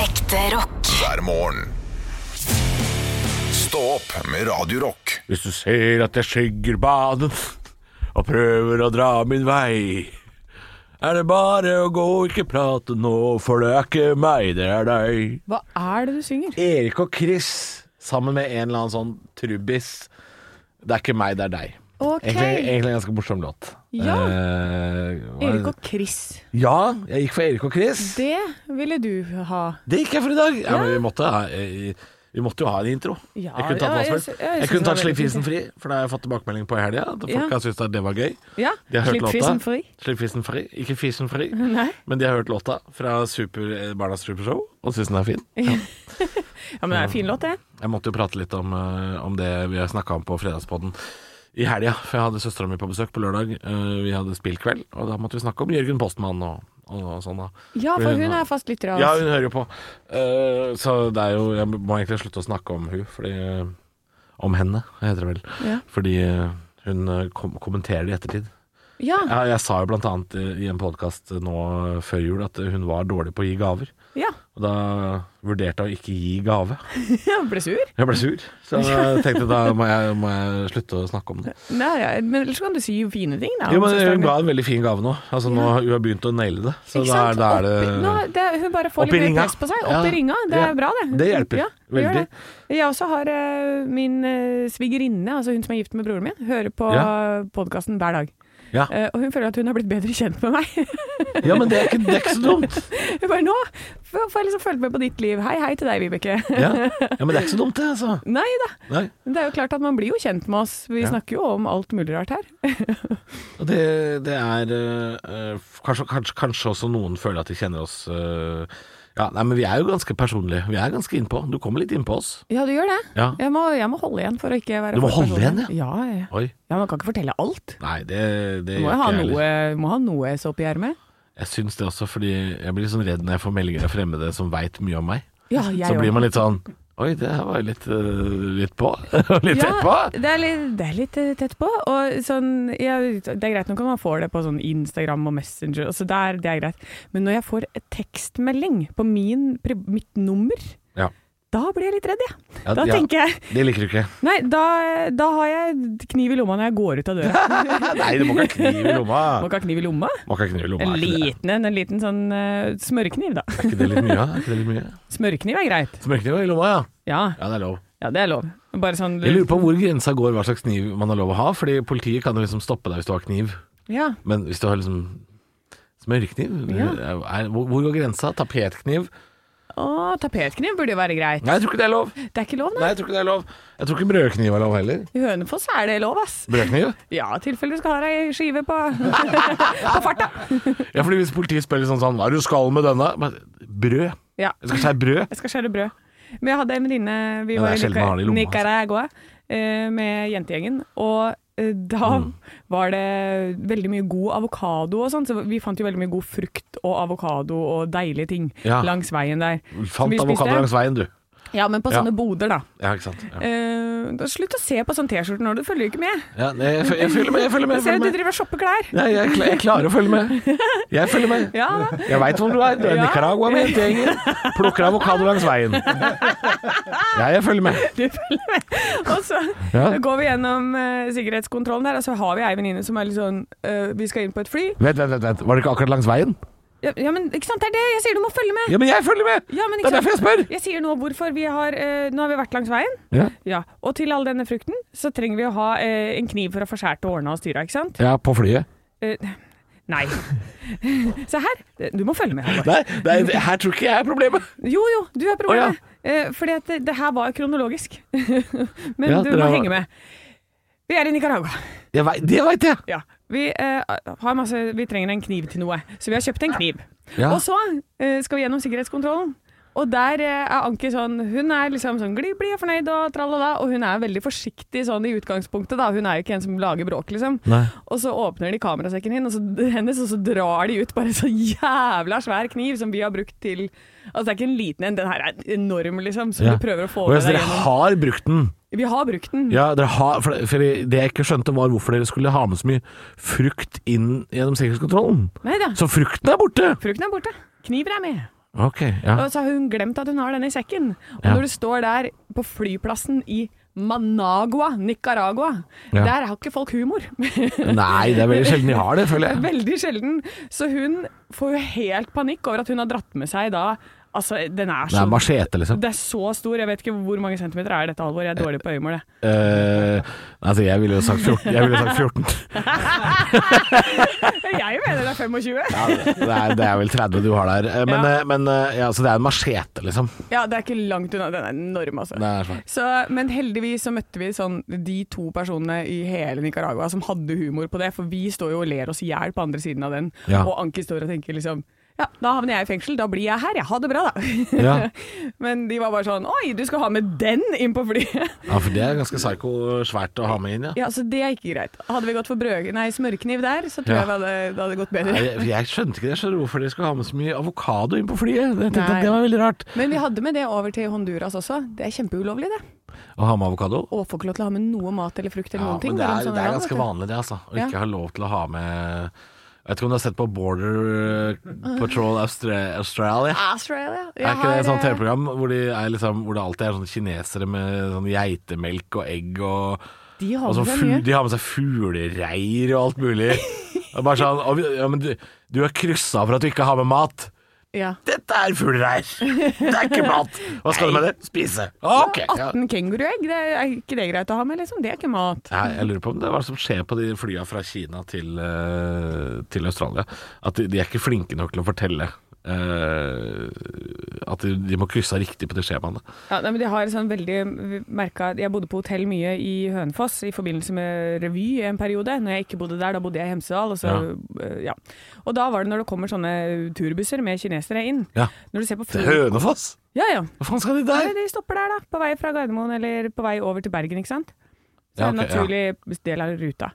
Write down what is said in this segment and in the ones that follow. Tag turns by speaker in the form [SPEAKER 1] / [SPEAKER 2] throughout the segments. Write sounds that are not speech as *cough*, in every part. [SPEAKER 1] Ekte rock.
[SPEAKER 2] hver morgen. Stå opp med Radio Rock.
[SPEAKER 3] Hvis du ser at jeg skygger banen og prøver å dra min vei, er det bare å gå, ikke prate nå, for det er ikke meg, det er deg.
[SPEAKER 4] Hva er det du synger?
[SPEAKER 3] Erik og Chris sammen med en eller annen sånn trubbis. Det er ikke meg, det er deg.
[SPEAKER 4] Ok.
[SPEAKER 3] Egentlig, egentlig en ganske morsom låt.
[SPEAKER 4] Ja.
[SPEAKER 3] Eh, hva-
[SPEAKER 4] Erik og Chris.
[SPEAKER 3] Ja, jeg gikk for Erik og Chris. Det,
[SPEAKER 4] Det ville du ha.
[SPEAKER 3] gikk jeg for i dag. Ja, men vi måtte, ha, eh, vi måtte jo ha en intro.
[SPEAKER 4] Ja,
[SPEAKER 3] jeg kunne tatt, hva som
[SPEAKER 4] ja, jeg
[SPEAKER 3] helst.
[SPEAKER 4] sy- ja, jeg
[SPEAKER 3] jeg
[SPEAKER 4] synes
[SPEAKER 3] kunne
[SPEAKER 4] det var
[SPEAKER 3] tatt Slipp
[SPEAKER 4] veldig
[SPEAKER 3] fisen fri, for da har jeg fått tilbakemelding på i helga. at Folk
[SPEAKER 4] Ja.
[SPEAKER 3] har syntes at det var gøy.
[SPEAKER 4] Ja,
[SPEAKER 3] De har hørt
[SPEAKER 4] slipp
[SPEAKER 3] låta.
[SPEAKER 4] fisen fri.
[SPEAKER 3] Slipp fisen fri. Ikke fisen fri,
[SPEAKER 4] *laughs* Nei.
[SPEAKER 3] men de har hørt låta fra super, eh, Barnas Supershow og syns den er fin.
[SPEAKER 4] Ja, men det er en fin låt, det.
[SPEAKER 3] Jeg måtte jo prate litt om, eh, om det vi har snakka om på fredagspodden i helga. For jeg hadde søstera mi på besøk på lørdag. Eh, Vi hadde spillkveld, og da måtte vi snakke om Jørgen Postmann og, og, og sånn, da.
[SPEAKER 4] Ja, for hun er fast lytter av
[SPEAKER 3] Ja,
[SPEAKER 4] oss.
[SPEAKER 3] hun hører jo på. Eh, så det er jo Jeg må egentlig slutte å snakke om hun, fordi eh, Om henne, heter det vel.
[SPEAKER 4] Ja.
[SPEAKER 3] Fordi eh, hun eh, kom kommenterer det i ettertid.
[SPEAKER 4] Ja,
[SPEAKER 3] Ja, jeg sa jo blant annet eh, i en podkast nå eh, før jul at eh, hun var dårlig på å gi gaver.
[SPEAKER 4] ja. *laughs*
[SPEAKER 3] Og da vurderte jeg å ikke gi gave.
[SPEAKER 4] ja ble sur.
[SPEAKER 3] Jeg ble sur, så jeg tenkte da må jeg, må jeg slutte å snakke om det.
[SPEAKER 4] Nei, ja. Men ellers kan du si fine ting, da.
[SPEAKER 3] Jo, men Hun
[SPEAKER 4] Søsteren min.
[SPEAKER 3] ga en veldig fin gave nå. Altså nå har Hun har begynt å naile det. Så
[SPEAKER 4] Ikke
[SPEAKER 3] da
[SPEAKER 4] sant?
[SPEAKER 3] er, da er det
[SPEAKER 4] Oppi- Nå, det er- hun bare får
[SPEAKER 3] Opp i
[SPEAKER 4] litt mer
[SPEAKER 3] ringa.
[SPEAKER 4] press på seg. Opp
[SPEAKER 3] Ja.
[SPEAKER 4] i ringa, det
[SPEAKER 3] Ja.
[SPEAKER 4] er bra det.
[SPEAKER 3] Det hjelper.
[SPEAKER 4] Ja, det gjør
[SPEAKER 3] Veldig.
[SPEAKER 4] det. Jeg også har eh, min eh, svigerinne, altså hun som er gift med broren min, hører på
[SPEAKER 3] Ja.
[SPEAKER 4] ja. podkasten hver dag.
[SPEAKER 3] Ja.
[SPEAKER 4] Eh, og hun føler at hun har blitt bedre kjent med meg.
[SPEAKER 3] Ja, men det er ikke, det er ikke så dumt.
[SPEAKER 4] Hun bare nå f- får jeg liksom følge med på ditt liv. Hei, hei til deg, Vibeke. *laughs*
[SPEAKER 3] Ja, ja men det er ikke så dumt, det, altså.
[SPEAKER 4] Nei da.
[SPEAKER 3] Nei.
[SPEAKER 4] Men det er jo klart at man blir jo kjent med oss. Vi
[SPEAKER 3] Ja.
[SPEAKER 4] snakker jo om alt mulig rart her.
[SPEAKER 3] Og Det, det er eh, eh, kanskje, kanskje, kanskje også noen føler at de kjenner oss eh, Ja, nei, men vi er jo ganske personlige. Vi er ganske innpå. Du kommer litt innpå oss.
[SPEAKER 4] Ja, du gjør det.
[SPEAKER 3] Ja.
[SPEAKER 4] Jeg, må, jeg må holde igjen for å ikke være
[SPEAKER 3] Du må
[SPEAKER 4] for
[SPEAKER 3] holde igjen,
[SPEAKER 4] personlig. ja? Ja, ja.
[SPEAKER 3] Oi.
[SPEAKER 4] Man kan ikke fortelle alt.
[SPEAKER 3] Nei, det, det
[SPEAKER 4] Du må
[SPEAKER 3] gjør
[SPEAKER 4] jo ha
[SPEAKER 3] ikke jeg heller.
[SPEAKER 4] noe, må ha noe sopp i ermet.
[SPEAKER 3] Jeg syns det også, fordi jeg blir sånn redd når jeg får meldinger av fremmede som veit mye om meg.
[SPEAKER 4] Ja, jeg
[SPEAKER 3] Så
[SPEAKER 4] også.
[SPEAKER 3] blir man litt sånn Oi, det her var jo litt, eh, litt på. *laughs* litt tett på.
[SPEAKER 4] Ja, det er litt, det er litt eh, tett på. Og sånn, ja, det er greit nok at man får det på sånn Instagram og Messenger, altså der, det er greit. Men når jeg får et tekstmelding på min, pri- mitt nummer,
[SPEAKER 3] Ja.
[SPEAKER 4] da blir jeg litt redd, jeg.
[SPEAKER 3] Ja,
[SPEAKER 4] Da
[SPEAKER 3] ja.
[SPEAKER 4] tenker jeg
[SPEAKER 3] Det liker du ikke.
[SPEAKER 4] Nei, da, da har jeg kniv i lomma når jeg går ut
[SPEAKER 3] *laughs*
[SPEAKER 4] av døra.
[SPEAKER 3] Nei, du må ikke ha kniv i lomma.
[SPEAKER 4] Må ikke ha kniv i lomma.
[SPEAKER 3] Må ikke ha kniv i lomma.
[SPEAKER 4] En
[SPEAKER 3] Er ikke det-
[SPEAKER 4] liten en, en liten sånn eh, smørkniv, da.
[SPEAKER 3] er ikke det litt mye? Er ikke det litt mye?
[SPEAKER 4] Smørkniv er greit.
[SPEAKER 3] Smørkniv i lomma, ja.
[SPEAKER 4] Ja,
[SPEAKER 3] Ja, det er lov.
[SPEAKER 4] ja det er lov. Bare sånn
[SPEAKER 3] Jeg lurer på hvor grensa går hva slags kniv man har lov å ha, fordi politiet kan jo liksom stoppe deg hvis du har kniv.
[SPEAKER 4] Ja.
[SPEAKER 3] Men hvis du har liksom smørkniv,
[SPEAKER 4] Ja.
[SPEAKER 3] er, hvor, hvor går grensa? Tapetkniv?
[SPEAKER 4] Å, tapetkniv burde jo være greit.
[SPEAKER 3] Nei, jeg tror ikke det er lov.
[SPEAKER 4] Det er ikke lov,
[SPEAKER 3] Nei, jeg tror ikke det er lov. Jeg tror ikke brødkniv er lov heller.
[SPEAKER 4] I Hønefoss er det lov, ass.
[SPEAKER 3] Brødkniv?
[SPEAKER 4] Ja, i tilfelle du skal ha deg skive på, *laughs* på farta.
[SPEAKER 3] Ja, fordi hvis politiet spør liksom sånn, hva er det du skal med denne? Men, brød.
[SPEAKER 4] Ja,
[SPEAKER 3] Jeg skal skjære brød.
[SPEAKER 4] jeg skal skjære brød. Men jeg hadde en venninne
[SPEAKER 3] Men
[SPEAKER 4] Vi
[SPEAKER 3] det
[SPEAKER 4] var
[SPEAKER 3] er
[SPEAKER 4] i
[SPEAKER 3] sjelden man har det i
[SPEAKER 4] Nica-
[SPEAKER 3] lomma, altså.
[SPEAKER 4] Nicaragua eh, med jentegjengen. Og eh, da
[SPEAKER 3] Mm.
[SPEAKER 4] var det veldig mye god avokado og sånn, så vi fant jo veldig mye god frukt og avokado og deilige ting
[SPEAKER 3] Ja.
[SPEAKER 4] langs veien der. Som vi
[SPEAKER 3] Fant avokado
[SPEAKER 4] spiste.
[SPEAKER 3] langs veien, du.
[SPEAKER 4] Ja, men på
[SPEAKER 3] Ja.
[SPEAKER 4] sånne boder, da.
[SPEAKER 3] Ja, ikke sant. Ja.
[SPEAKER 4] Eh, da slutt å se på sånn T-skjorte når du følger ikke med.
[SPEAKER 3] Ja, nei, jeg, føl- jeg følger med, jeg følger med.
[SPEAKER 4] Jeg
[SPEAKER 3] Jeg
[SPEAKER 4] ser
[SPEAKER 3] følger
[SPEAKER 4] at du
[SPEAKER 3] med.
[SPEAKER 4] driver og shopper klær.
[SPEAKER 3] Nei, jeg, kla- jeg klarer å følge med. Jeg følger med. *laughs*
[SPEAKER 4] Ja.
[SPEAKER 3] Jeg veit hvor du er. Du er i
[SPEAKER 4] Ja.
[SPEAKER 3] Nicaragua med jentegjengen. Plukker avokado langs veien. Ja, jeg følger med.
[SPEAKER 4] Du følger med. Og så
[SPEAKER 3] Ja.
[SPEAKER 4] går vi gjennom eh, sikkerhetskontrollen der, og så har vi ei venninne som er litt sånn eh, Vi skal inn på et fly.
[SPEAKER 3] Vent, vent, vent, vent. Var det ikke akkurat langs veien?
[SPEAKER 4] Ja, ja, men ikke sant, det er det jeg sier, du må følge med!
[SPEAKER 3] Ja, men jeg følger med!
[SPEAKER 4] Ja, men
[SPEAKER 3] Det er
[SPEAKER 4] ikke
[SPEAKER 3] derfor jeg
[SPEAKER 4] sant?
[SPEAKER 3] spør!
[SPEAKER 4] Jeg sier nå hvorfor vi har eh, Nå har vi vært langs veien,
[SPEAKER 3] Ja,
[SPEAKER 4] ja. og til all denne frukten så trenger vi å ha eh, en kniv for å få skåret og ordna og styra, ikke sant?
[SPEAKER 3] ja på flyet.
[SPEAKER 4] Eh,
[SPEAKER 3] *laughs*
[SPEAKER 4] nei. Se her, du må følge med. Halvor.
[SPEAKER 3] Nei, nei, det- her tror ikke jeg er problemet.
[SPEAKER 4] Jo jo, du er
[SPEAKER 3] Å,
[SPEAKER 4] problemet. Eh, fordi at det, det her var kronologisk. *laughs* men
[SPEAKER 3] Ja,
[SPEAKER 4] du
[SPEAKER 3] dere
[SPEAKER 4] må
[SPEAKER 3] har-
[SPEAKER 4] henge med. Vi er i Nicaragua.
[SPEAKER 3] Jeg vet, det veit jeg.
[SPEAKER 4] Ja. Vi, eh, har masse, vi trenger en kniv til noe, så vi har kjøpt en kniv.
[SPEAKER 3] Ja.
[SPEAKER 4] Og så eh, skal vi gjennom sikkerhetskontrollen. Og der eh, er Anki sånn Hun er liksom sånn glid, blid og fornøyd og tralala, og hun er veldig forsiktig sånn i utgangspunktet, da. Hun er jo ikke en som lager bråk, liksom.
[SPEAKER 3] Nei.
[SPEAKER 4] Og så åpner de kamerasekken hin- og så, hennes, og så drar de ut bare så jævla svær kniv som vi har brukt til Altså det er ikke en liten en, den her er enorm, liksom, som
[SPEAKER 3] Ja.
[SPEAKER 4] du prøver å få
[SPEAKER 3] Og
[SPEAKER 4] med
[SPEAKER 3] jeg,
[SPEAKER 4] deg
[SPEAKER 3] dere
[SPEAKER 4] gjennom.
[SPEAKER 3] har brukt den.
[SPEAKER 4] Vi har brukt den.
[SPEAKER 3] Ja, dere har, for, for Det jeg ikke skjønte, var hvorfor dere skulle ha med så mye frukt inn gjennom sikkerhetskontrollen.
[SPEAKER 4] Nei da.
[SPEAKER 3] Så frukten er borte!
[SPEAKER 4] Frukten er borte. Kniven er med.
[SPEAKER 3] Ok, ja.
[SPEAKER 4] Og så har hun glemt at hun har denne i sekken. Og
[SPEAKER 3] Ja.
[SPEAKER 4] når du står der på flyplassen i Managua, Nicaragua,
[SPEAKER 3] Ja.
[SPEAKER 4] der har ikke folk humor. *laughs*
[SPEAKER 3] Nei, det er veldig sjelden de har det, føler jeg.
[SPEAKER 4] Veldig sjelden. Så hun får jo helt panikk over at hun har dratt med seg da Altså, den er
[SPEAKER 3] Det
[SPEAKER 4] så
[SPEAKER 3] er machete, liksom.
[SPEAKER 4] Det er så stor. Jeg vet ikke hvor mange centimeter er dette, Alvor. Jeg er dårlig
[SPEAKER 3] *laughs*
[SPEAKER 4] på øyemålet.
[SPEAKER 3] Eh, altså, jeg ville jo sagt 14. Jeg ville sagt 14.
[SPEAKER 4] Jeg mener det er 25.
[SPEAKER 3] Ja, det, er, det er vel 30 du har der. Eh, Men,
[SPEAKER 4] Ja.
[SPEAKER 3] eh, men eh, ja, så det er en machete, liksom.
[SPEAKER 4] Ja, det er ikke langt unna. Den er enorm, altså.
[SPEAKER 3] Det er svær.
[SPEAKER 4] Så, men heldigvis så møtte vi sånn, de to personene i hele Nicaragua som hadde humor på det, for vi står jo og ler oss i hjel på andre siden av den,
[SPEAKER 3] Ja.
[SPEAKER 4] og Anki står og tenker liksom ja, da havner jeg i fengsel, da blir jeg her, jeg har det bra da. *laughs*
[SPEAKER 3] Ja.
[SPEAKER 4] Men de var bare sånn, oi, du skal ha med den inn på flyet. *laughs*
[SPEAKER 3] ja, for det er ganske psyko-svært å ha med inn, ja.
[SPEAKER 4] Ja, så det er ikke greit. Hadde vi gått for brød, nei, smørkniv der, så tror
[SPEAKER 3] Ja.
[SPEAKER 4] jeg vi hadde, det hadde gått bedre.
[SPEAKER 3] Nei, Jeg, jeg skjønte ikke det, jeg skjønner hvorfor de skulle ha med så mye avokado inn på flyet. Jeg tenkte
[SPEAKER 4] Nei.
[SPEAKER 3] at det var veldig rart.
[SPEAKER 4] Men vi hadde med det over til Honduras også. Det er kjempeulovlig, det.
[SPEAKER 3] Å ha med avokado?
[SPEAKER 4] Og får ikke lov til å ha med noe mat eller frukt eller
[SPEAKER 3] Ja,
[SPEAKER 4] noen
[SPEAKER 3] men
[SPEAKER 4] ting.
[SPEAKER 3] det
[SPEAKER 4] mellom
[SPEAKER 3] er,
[SPEAKER 4] sånne
[SPEAKER 3] det er
[SPEAKER 4] sånn land, vet
[SPEAKER 3] ganske
[SPEAKER 4] du.
[SPEAKER 3] vanlig det, altså. Å
[SPEAKER 4] Ja.
[SPEAKER 3] ikke ha lov til å ha med Jeg vet ikke om du har sett på Border eh, Patrol Austra Australia?
[SPEAKER 4] Australia. Jeg
[SPEAKER 3] Er ikke det sånn et sånt
[SPEAKER 4] har, eh,
[SPEAKER 3] TV-program hvor, de er liksom, hvor det alltid er sånne kinesere med sånn geitemelk og egg og,
[SPEAKER 4] De har
[SPEAKER 3] og sånn
[SPEAKER 4] med seg
[SPEAKER 3] fu,
[SPEAKER 4] mye.
[SPEAKER 3] De har med seg fuglereir og alt
[SPEAKER 4] *laughs*
[SPEAKER 3] mulig. Og bare sånn og, vi- ja, men du, du har kryssa for at du ikke har med mat.
[SPEAKER 4] Ja.
[SPEAKER 3] Dette er fuglereir! Det er ikke mat! Hva skal du med det? Spise. Ok. Ja.
[SPEAKER 4] 18 kenguruegg, det er ikke det greit å ha med, liksom. Det er ikke mat.
[SPEAKER 3] Jeg, jeg lurer på om det er hva som skjer på de flya fra Kina til, eh, til Australia. At de, de er ikke flinke nok til å fortelle eh, at de, de må krysse av riktig på de skjemaene.
[SPEAKER 4] Ja, nei, men de har sånn veldig merka Jeg bodde på hotell mye i Hønefoss i forbindelse med revy en periode. Når jeg ikke bodde der, da bodde jeg i Hemsedal. Og, så, eh, ja. og da var det når det kommer sånne turbusser med kinesere inn.
[SPEAKER 3] Ja.
[SPEAKER 4] Når du ser på
[SPEAKER 3] Til
[SPEAKER 4] fly-
[SPEAKER 3] Hønefoss!
[SPEAKER 4] Ja, ja.
[SPEAKER 3] Hva faen skal de
[SPEAKER 4] Nei,
[SPEAKER 3] der?
[SPEAKER 4] de stopper der, da. På vei fra Gardermoen eller på vei over til Bergen, ikke sant. Så
[SPEAKER 3] Ja,
[SPEAKER 4] er det
[SPEAKER 3] ok,
[SPEAKER 4] en naturlig del av ruta.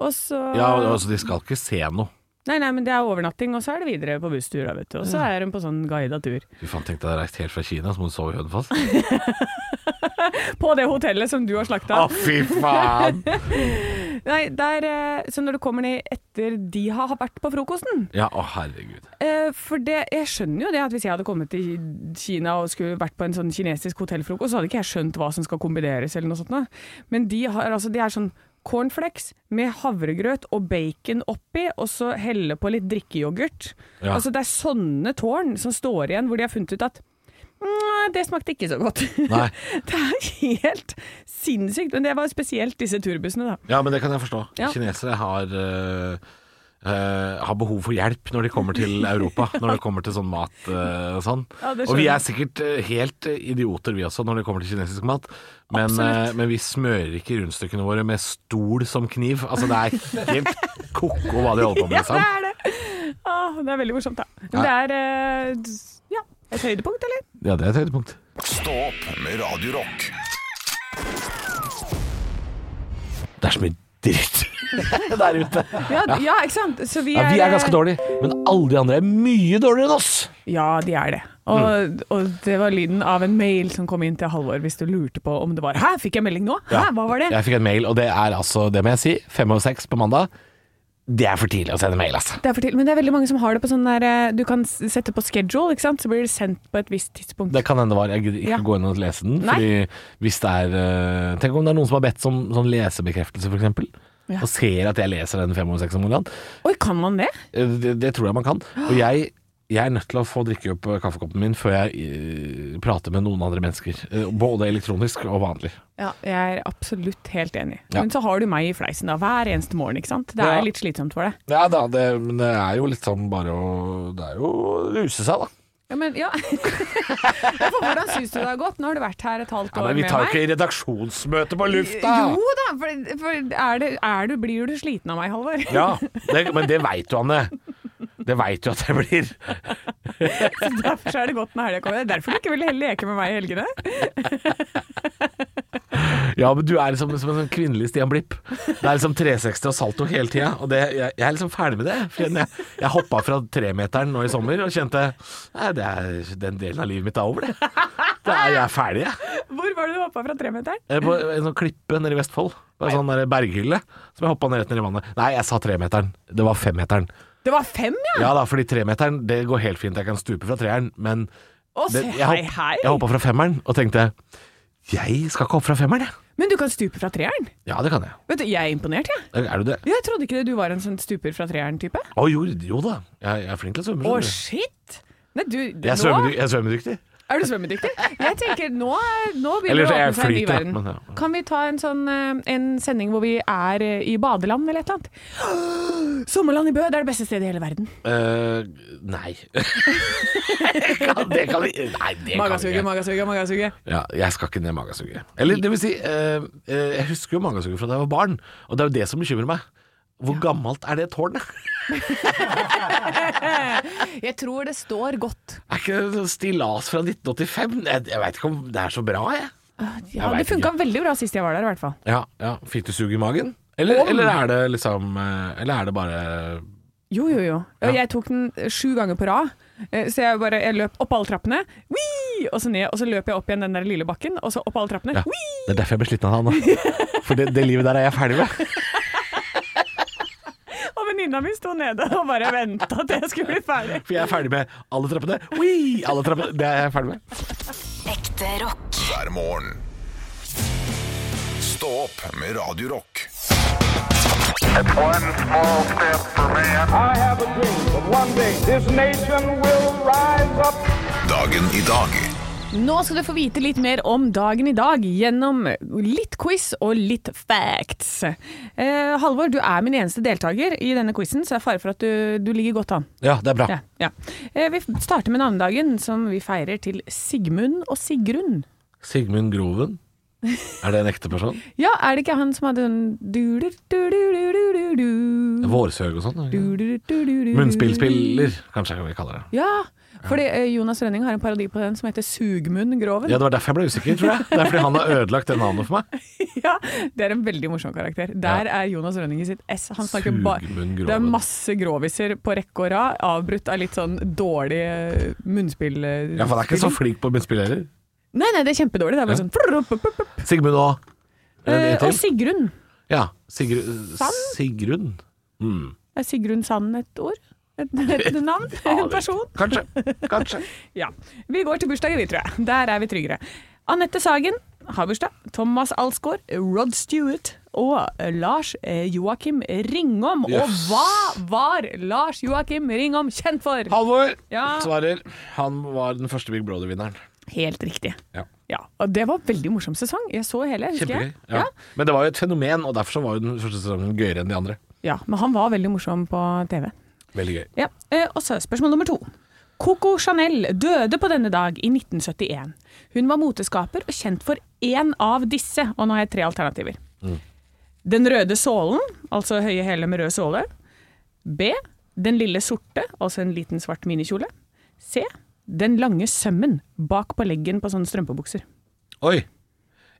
[SPEAKER 4] Og så
[SPEAKER 3] Ja, altså De skal ikke se noe.
[SPEAKER 4] Nei, nei, men det er overnatting, og så er det videre på busstur, da, vet du. Og så er hun på sånn guida tur.
[SPEAKER 3] Fy faen, tenkte jeg reist helt fra Kina, så må du sove i Hønefoss.
[SPEAKER 4] På det hotellet som du har slakta.
[SPEAKER 3] Å, fy faen!
[SPEAKER 4] Nei, der, eh, så når du kommer ned etter de har vært på frokosten
[SPEAKER 3] Ja, å herregud.
[SPEAKER 4] eh, For det, jeg skjønner jo det at hvis jeg hadde kommet til Kina og skulle vært på en sånn kinesisk hotellfrokost, så hadde ikke jeg skjønt hva som skal kombineres eller noe sånt. da. Men de har altså, de er sånn cornflakes med havregrøt og bacon oppi, og så helle på litt drikkeyoghurt.
[SPEAKER 3] Ja.
[SPEAKER 4] Altså det er sånne tårn som står igjen hvor de har funnet ut at «Mm, det smakte ikke så godt.
[SPEAKER 3] Nei.
[SPEAKER 4] *laughs* Det er helt sinnssykt. Men det var spesielt disse turbussene, da.
[SPEAKER 3] Ja, men det kan jeg forstå.
[SPEAKER 4] Ja.
[SPEAKER 3] Kinesere har eh, eh, har behov for hjelp når de kommer til Europa, når det kommer til sånn mat eh, og sånn.
[SPEAKER 4] Ja, det skjønner
[SPEAKER 3] og vi
[SPEAKER 4] jeg.
[SPEAKER 3] er sikkert eh, helt eh, idioter vi også når det kommer til kinesisk mat, men,
[SPEAKER 4] Absolutt.
[SPEAKER 3] eh, men vi smører ikke rundstykkene våre med stol som kniv. Altså det er helt ko-ko hva de holder
[SPEAKER 4] *laughs*
[SPEAKER 3] på med,
[SPEAKER 4] Ja,
[SPEAKER 3] liksom.
[SPEAKER 4] det er det! Åh, det er veldig morsomt, da. Men det
[SPEAKER 3] Ja.
[SPEAKER 4] er eh, d- ja, et høydepunkt, eller?
[SPEAKER 3] Ja, det er et høydepunkt.
[SPEAKER 2] Stå opp med Radio Rock.
[SPEAKER 3] Det er så mye dritt *laughs* der
[SPEAKER 4] *laughs*
[SPEAKER 3] ute.
[SPEAKER 4] Ja, d- ja ikke sant? Så vi,
[SPEAKER 3] Ja, vi er
[SPEAKER 4] eh,
[SPEAKER 3] ganske dårlige, men alle de andre er mye dårligere enn oss.
[SPEAKER 4] Ja, de er det. Og,
[SPEAKER 3] Mm.
[SPEAKER 4] og det var lyden av en mail som kom inn til Halvor, hvis du lurte på om det var Hæ, fikk jeg melding nå? Hæ, hva var det?
[SPEAKER 3] Jeg fikk en mail, og det er altså, det må jeg si, fem over seks på mandag. Det er for tidlig å sende mail, altså.
[SPEAKER 4] Det er for tidlig, men det er veldig mange som har det på sånn der eh, Du kan s- sette på schedule, ikke sant? Så blir det sendt på et visst tidspunkt.
[SPEAKER 3] Det kan hende det var. Jeg gidder ikke
[SPEAKER 4] Ja.
[SPEAKER 3] gå inn og lese den.
[SPEAKER 4] Nei.
[SPEAKER 3] Fordi hvis det er eh, Tenk om det er noen som har bedt som sånn lesebekreftelse, f.eks.
[SPEAKER 4] Ja.
[SPEAKER 3] Og ser at jeg leser den fem over seks om morgenen.
[SPEAKER 4] Oi, kan man det?
[SPEAKER 3] Eh, Det, det tror jeg man kan. Og jeg, jeg er nødt til å få drikke opp eh, kaffekoppen min før jeg eh, prater med noen andre mennesker. Eh, Både elektronisk og vanlig.
[SPEAKER 4] Ja, jeg er absolutt helt enig.
[SPEAKER 3] Ja.
[SPEAKER 4] Men så har du meg i fleisen da, hver eneste morgen, ikke sant? Det
[SPEAKER 3] Ja.
[SPEAKER 4] er litt slitsomt for deg.
[SPEAKER 3] Ja da, det, men det er jo litt sånn bare å Det er jo å ruse seg, da.
[SPEAKER 4] Ja, men ja. *laughs* Ja, for hvordan syns du det har gått? Nå har du vært her et halvt
[SPEAKER 3] Ja,
[SPEAKER 4] år
[SPEAKER 3] men vi
[SPEAKER 4] med
[SPEAKER 3] tar jo
[SPEAKER 4] meg.
[SPEAKER 3] ikke redaksjonsmøte på lufta!
[SPEAKER 4] Jo da, for, for er det, er du, blir du sliten av meg, Halvor?
[SPEAKER 3] Ja, det, men det veit du, Anne. Det veit du at jeg blir.
[SPEAKER 4] *laughs* Så Derfor så er det godt når helga kommer. Det er derfor du ikke vil leke med meg i helgene.
[SPEAKER 3] Ja, men du er liksom som en sånn kvinnelig Stian Blipp. Det er liksom 360 og salto hele tida. Og det, jeg, jeg er liksom ferdig med det. For Jeg, jeg hoppa fra tremeteren nå i sommer og kjente Nei, det er, den delen av livet mitt er over, det. Da er jeg ferdig, jeg.
[SPEAKER 4] Hvor var det du hoppa fra tremeteren?
[SPEAKER 3] Jeg er På en sånn klippe nede i Vestfold. På en sånn der berghylle som jeg hoppa ned rett ned i vannet. Nei, jeg sa tremeteren. Det var femmeteren.
[SPEAKER 4] Det var fem, ja!
[SPEAKER 3] Ja da, fordi tremeteren, det går helt fint. Jeg kan stupe fra treeren, men
[SPEAKER 4] Å, se,
[SPEAKER 3] det, jeg,
[SPEAKER 4] hei,
[SPEAKER 3] hopp-
[SPEAKER 4] hei.
[SPEAKER 3] jeg hoppa fra femmeren og tenkte Jeg skal ikke hoppe fra femmeren, jeg.
[SPEAKER 4] Men du kan stupe fra treeren.
[SPEAKER 3] Ja, det kan jeg.
[SPEAKER 4] Vet du, jeg er imponert, jeg.
[SPEAKER 3] Er du det?
[SPEAKER 4] Ja. Jeg trodde ikke det du var en sånn stuper fra treeren-type.
[SPEAKER 3] Å jo, jo da. Jeg, jeg er flink til å svømme.
[SPEAKER 4] Å,
[SPEAKER 3] skjønner du.
[SPEAKER 4] shit! Nei, du,
[SPEAKER 3] Jeg er,
[SPEAKER 4] nå
[SPEAKER 3] svømmedyk, jeg er svømmedyktig.
[SPEAKER 4] er du svømmedyktig. Jeg tenker, nå, nå
[SPEAKER 3] Eller
[SPEAKER 4] begynner det å
[SPEAKER 3] så er jeg
[SPEAKER 4] åpne seg en ny
[SPEAKER 3] flyt, da,
[SPEAKER 4] verden.
[SPEAKER 3] men ja.
[SPEAKER 4] Kan vi ta en, sånn, eh, en sending hvor vi er eh, i badeland eller et eller annet? *gasps* Sommerland i Bø, det er det beste stedet i hele verden.
[SPEAKER 3] Eh, nei. *laughs* Kan- det kan vi Nei, det kan vi
[SPEAKER 4] Magasuget,
[SPEAKER 3] ikke.
[SPEAKER 4] magasuget, magasuget.
[SPEAKER 3] Ja, jeg skal ikke ned magasuget. Eller det vil si, eh, eh, jeg husker jo magasuget fra da jeg var barn, og det er jo det som bekymrer meg. Hvor gammelt er det tårnet? *laughs*
[SPEAKER 4] Jeg tror det står godt.
[SPEAKER 3] Er ikke det sånn stillas fra 1985? Jeg, jeg veit ikke om det er så bra, jeg.
[SPEAKER 4] Ja,
[SPEAKER 3] Jeg
[SPEAKER 4] det
[SPEAKER 3] vet
[SPEAKER 4] funka veldig bra sist jeg var der, i hvert fall.
[SPEAKER 3] Ja, ja. Fikk du sug i magen? Eller,
[SPEAKER 4] Om.
[SPEAKER 3] eller er det liksom eh, Eller er det bare
[SPEAKER 4] Jo, jo, jo. Og Jeg tok den sju ganger på rad. Eh, Så jeg bare jeg løp opp alle trappene, Wii! og så ned. Og så løp jeg opp igjen den der lille bakken, og så opp alle trappene.
[SPEAKER 3] Ja.
[SPEAKER 4] Wii!
[SPEAKER 3] Det er derfor jeg ble sliten av han, *laughs* da. For det, det livet der er jeg *laughs* ferdig med.
[SPEAKER 4] Og venninna mi sto nede og bare venta til jeg skulle bli ferdig.
[SPEAKER 3] For jeg er ferdig med alle trappene. Ui, alle trappene. Det er jeg ferdig med.
[SPEAKER 1] Ekte rock.
[SPEAKER 2] hver morgen. Stå opp med Radio Rock.
[SPEAKER 5] It's one small step for man.
[SPEAKER 6] I have a dream that one day this nation will rise up.
[SPEAKER 2] Dagen i dag
[SPEAKER 4] Nå skal du få vite litt mer om dagen i dag gjennom litt quiz og litt facts. Eh, Halvor, du er min eneste deltaker i denne quizen, så det er fare for at du, du ligger godt an.
[SPEAKER 3] Ja, det er bra.
[SPEAKER 4] Ja, ja. Eh, vi starter med navnedagen, som vi feirer til Sigmund og Sigrun.
[SPEAKER 3] Sigmund Groven. Er det en ekte person?
[SPEAKER 4] Ja, er det ikke han som hadde sånn duler, du-du-du-du-du-du.
[SPEAKER 3] Vårsøg og sånn?
[SPEAKER 4] Du-du-du-du-du-du.
[SPEAKER 3] Munnspillspiller, kanskje vi kaller det.
[SPEAKER 4] Ja, fordi eh, Jonas Rønning har en parodi på den som heter Sugmunn Groven.
[SPEAKER 3] Ja, Det var derfor jeg ble usikker, tror jeg. Det er fordi han har ødelagt det navnet for meg.
[SPEAKER 4] *laughs* Ja, det er en veldig morsom karakter. Der er Jonas Rønning i sitt ess. Han snakker bare
[SPEAKER 3] Sugmunn Groven.
[SPEAKER 4] Det er masse groviser på rekke og rad, avbrutt av litt sånn dårlig eh, munnspill... eh,
[SPEAKER 3] Ja, for han er ikke så flink på munnspill heller.
[SPEAKER 4] Nei, nei, det er kjempedårlig. Det er bare
[SPEAKER 3] Ja.
[SPEAKER 4] sånn prr, prr, prr, prr.
[SPEAKER 3] Sigmund og
[SPEAKER 4] Eh,
[SPEAKER 3] En til?
[SPEAKER 4] Og Sigrun.
[SPEAKER 3] Ja. Sigru-
[SPEAKER 4] Sand?
[SPEAKER 3] Sigrun. Mm.
[SPEAKER 4] Er Sigrun Sand et ord? Et,
[SPEAKER 3] *laughs*
[SPEAKER 4] et navn? En person?
[SPEAKER 3] Kanskje. Kanskje.
[SPEAKER 4] Ja. Vi går til bursdagen, vi, tror jeg. Der er vi tryggere. Anette Sagen har bursdag. Thomas Alsgaard, Rod Stewart og Lars eh, Joakim Ringom.
[SPEAKER 3] Yes.
[SPEAKER 4] Og hva var Lars Joakim Ringom kjent for?
[SPEAKER 3] Halvor
[SPEAKER 4] Ja.
[SPEAKER 3] svarer han var den første Big Brother-vinneren.
[SPEAKER 4] Helt riktig.
[SPEAKER 3] Ja.
[SPEAKER 4] Ja, og Det var veldig morsom sesong. Jeg så hele, husker
[SPEAKER 3] Kjempegøy.
[SPEAKER 4] jeg.
[SPEAKER 3] Ja. Men det var jo et fenomen, og derfor så var jo den første sesongen gøyere enn de andre.
[SPEAKER 4] Ja, Men han var veldig morsom på TV.
[SPEAKER 3] Veldig gøy.
[SPEAKER 4] Ja, eh, og så spørsmål nummer to. Coco Chanel døde på denne dag i 1971. Hun var moteskaper og kjent for én av disse, og nå har jeg tre alternativer. Den røde sålen, altså høye hæler med rød såle. B. Den lille sorte, altså en liten svart minikjole. C. Den lange sømmen bak på leggen på sånne strømpebukser.
[SPEAKER 3] Oi.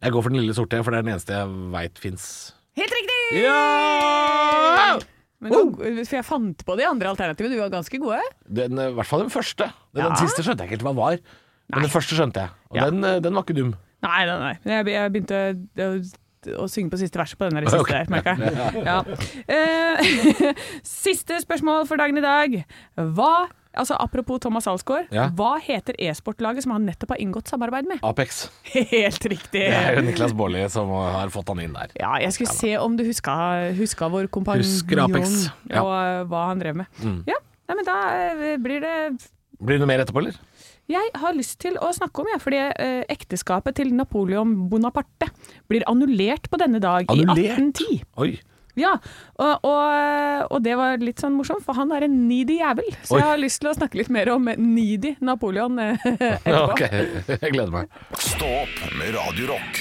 [SPEAKER 3] Jeg går for den lille sorte, for det er den eneste jeg veit fins.
[SPEAKER 4] Helt riktig!
[SPEAKER 3] Ja!
[SPEAKER 4] Men nå, for jeg fant på de andre alternativene, du var ganske gode.
[SPEAKER 3] Den, eh, I hvert fall den første. Den,
[SPEAKER 4] Ja.
[SPEAKER 3] den siste skjønte jeg ikke helt hva var. Men den første skjønte jeg, og
[SPEAKER 4] Ja.
[SPEAKER 3] den, eh, den var ikke dum.
[SPEAKER 4] Nei, nei, nei. Men Jeg, be- jeg begynte å, å, å synge på siste verset på den der siste
[SPEAKER 3] Ok.
[SPEAKER 4] der, merker jeg. Ja. Eh, *laughs* siste spørsmål for dagen i dag. Hva Altså Apropos Thomas Alsgaard,
[SPEAKER 3] Ja.
[SPEAKER 4] hva heter e-sportlaget som han nettopp har inngått samarbeid med?
[SPEAKER 3] Apex.
[SPEAKER 4] *laughs* Helt riktig!
[SPEAKER 3] Det er jo Niklas Baarli som har fått han inn der.
[SPEAKER 4] Ja, jeg skulle se om du huska, huska vår kompanjong
[SPEAKER 3] Husker Apex, ja. Mm.
[SPEAKER 4] og eh, hva han drev med. Ja, nei, men da eh, blir det
[SPEAKER 3] Blir det noe mer etterpå, eller?
[SPEAKER 4] Jeg har lyst til å snakke om, ja, fordi eh, ekteskapet til Napoleon Bonaparte blir annullert på denne dag i
[SPEAKER 3] Annullert?
[SPEAKER 4] 1810.
[SPEAKER 3] Oi.
[SPEAKER 4] Ja, og, og, og det var litt sånn morsomt, for han er en needy jævel. Så
[SPEAKER 3] Oi.
[SPEAKER 4] jeg har lyst til å snakke litt mer om needy Napoleon eh, *laughs* etterpå.
[SPEAKER 3] Ok, *laughs* jeg gleder meg.
[SPEAKER 2] Stå opp med Radio Rock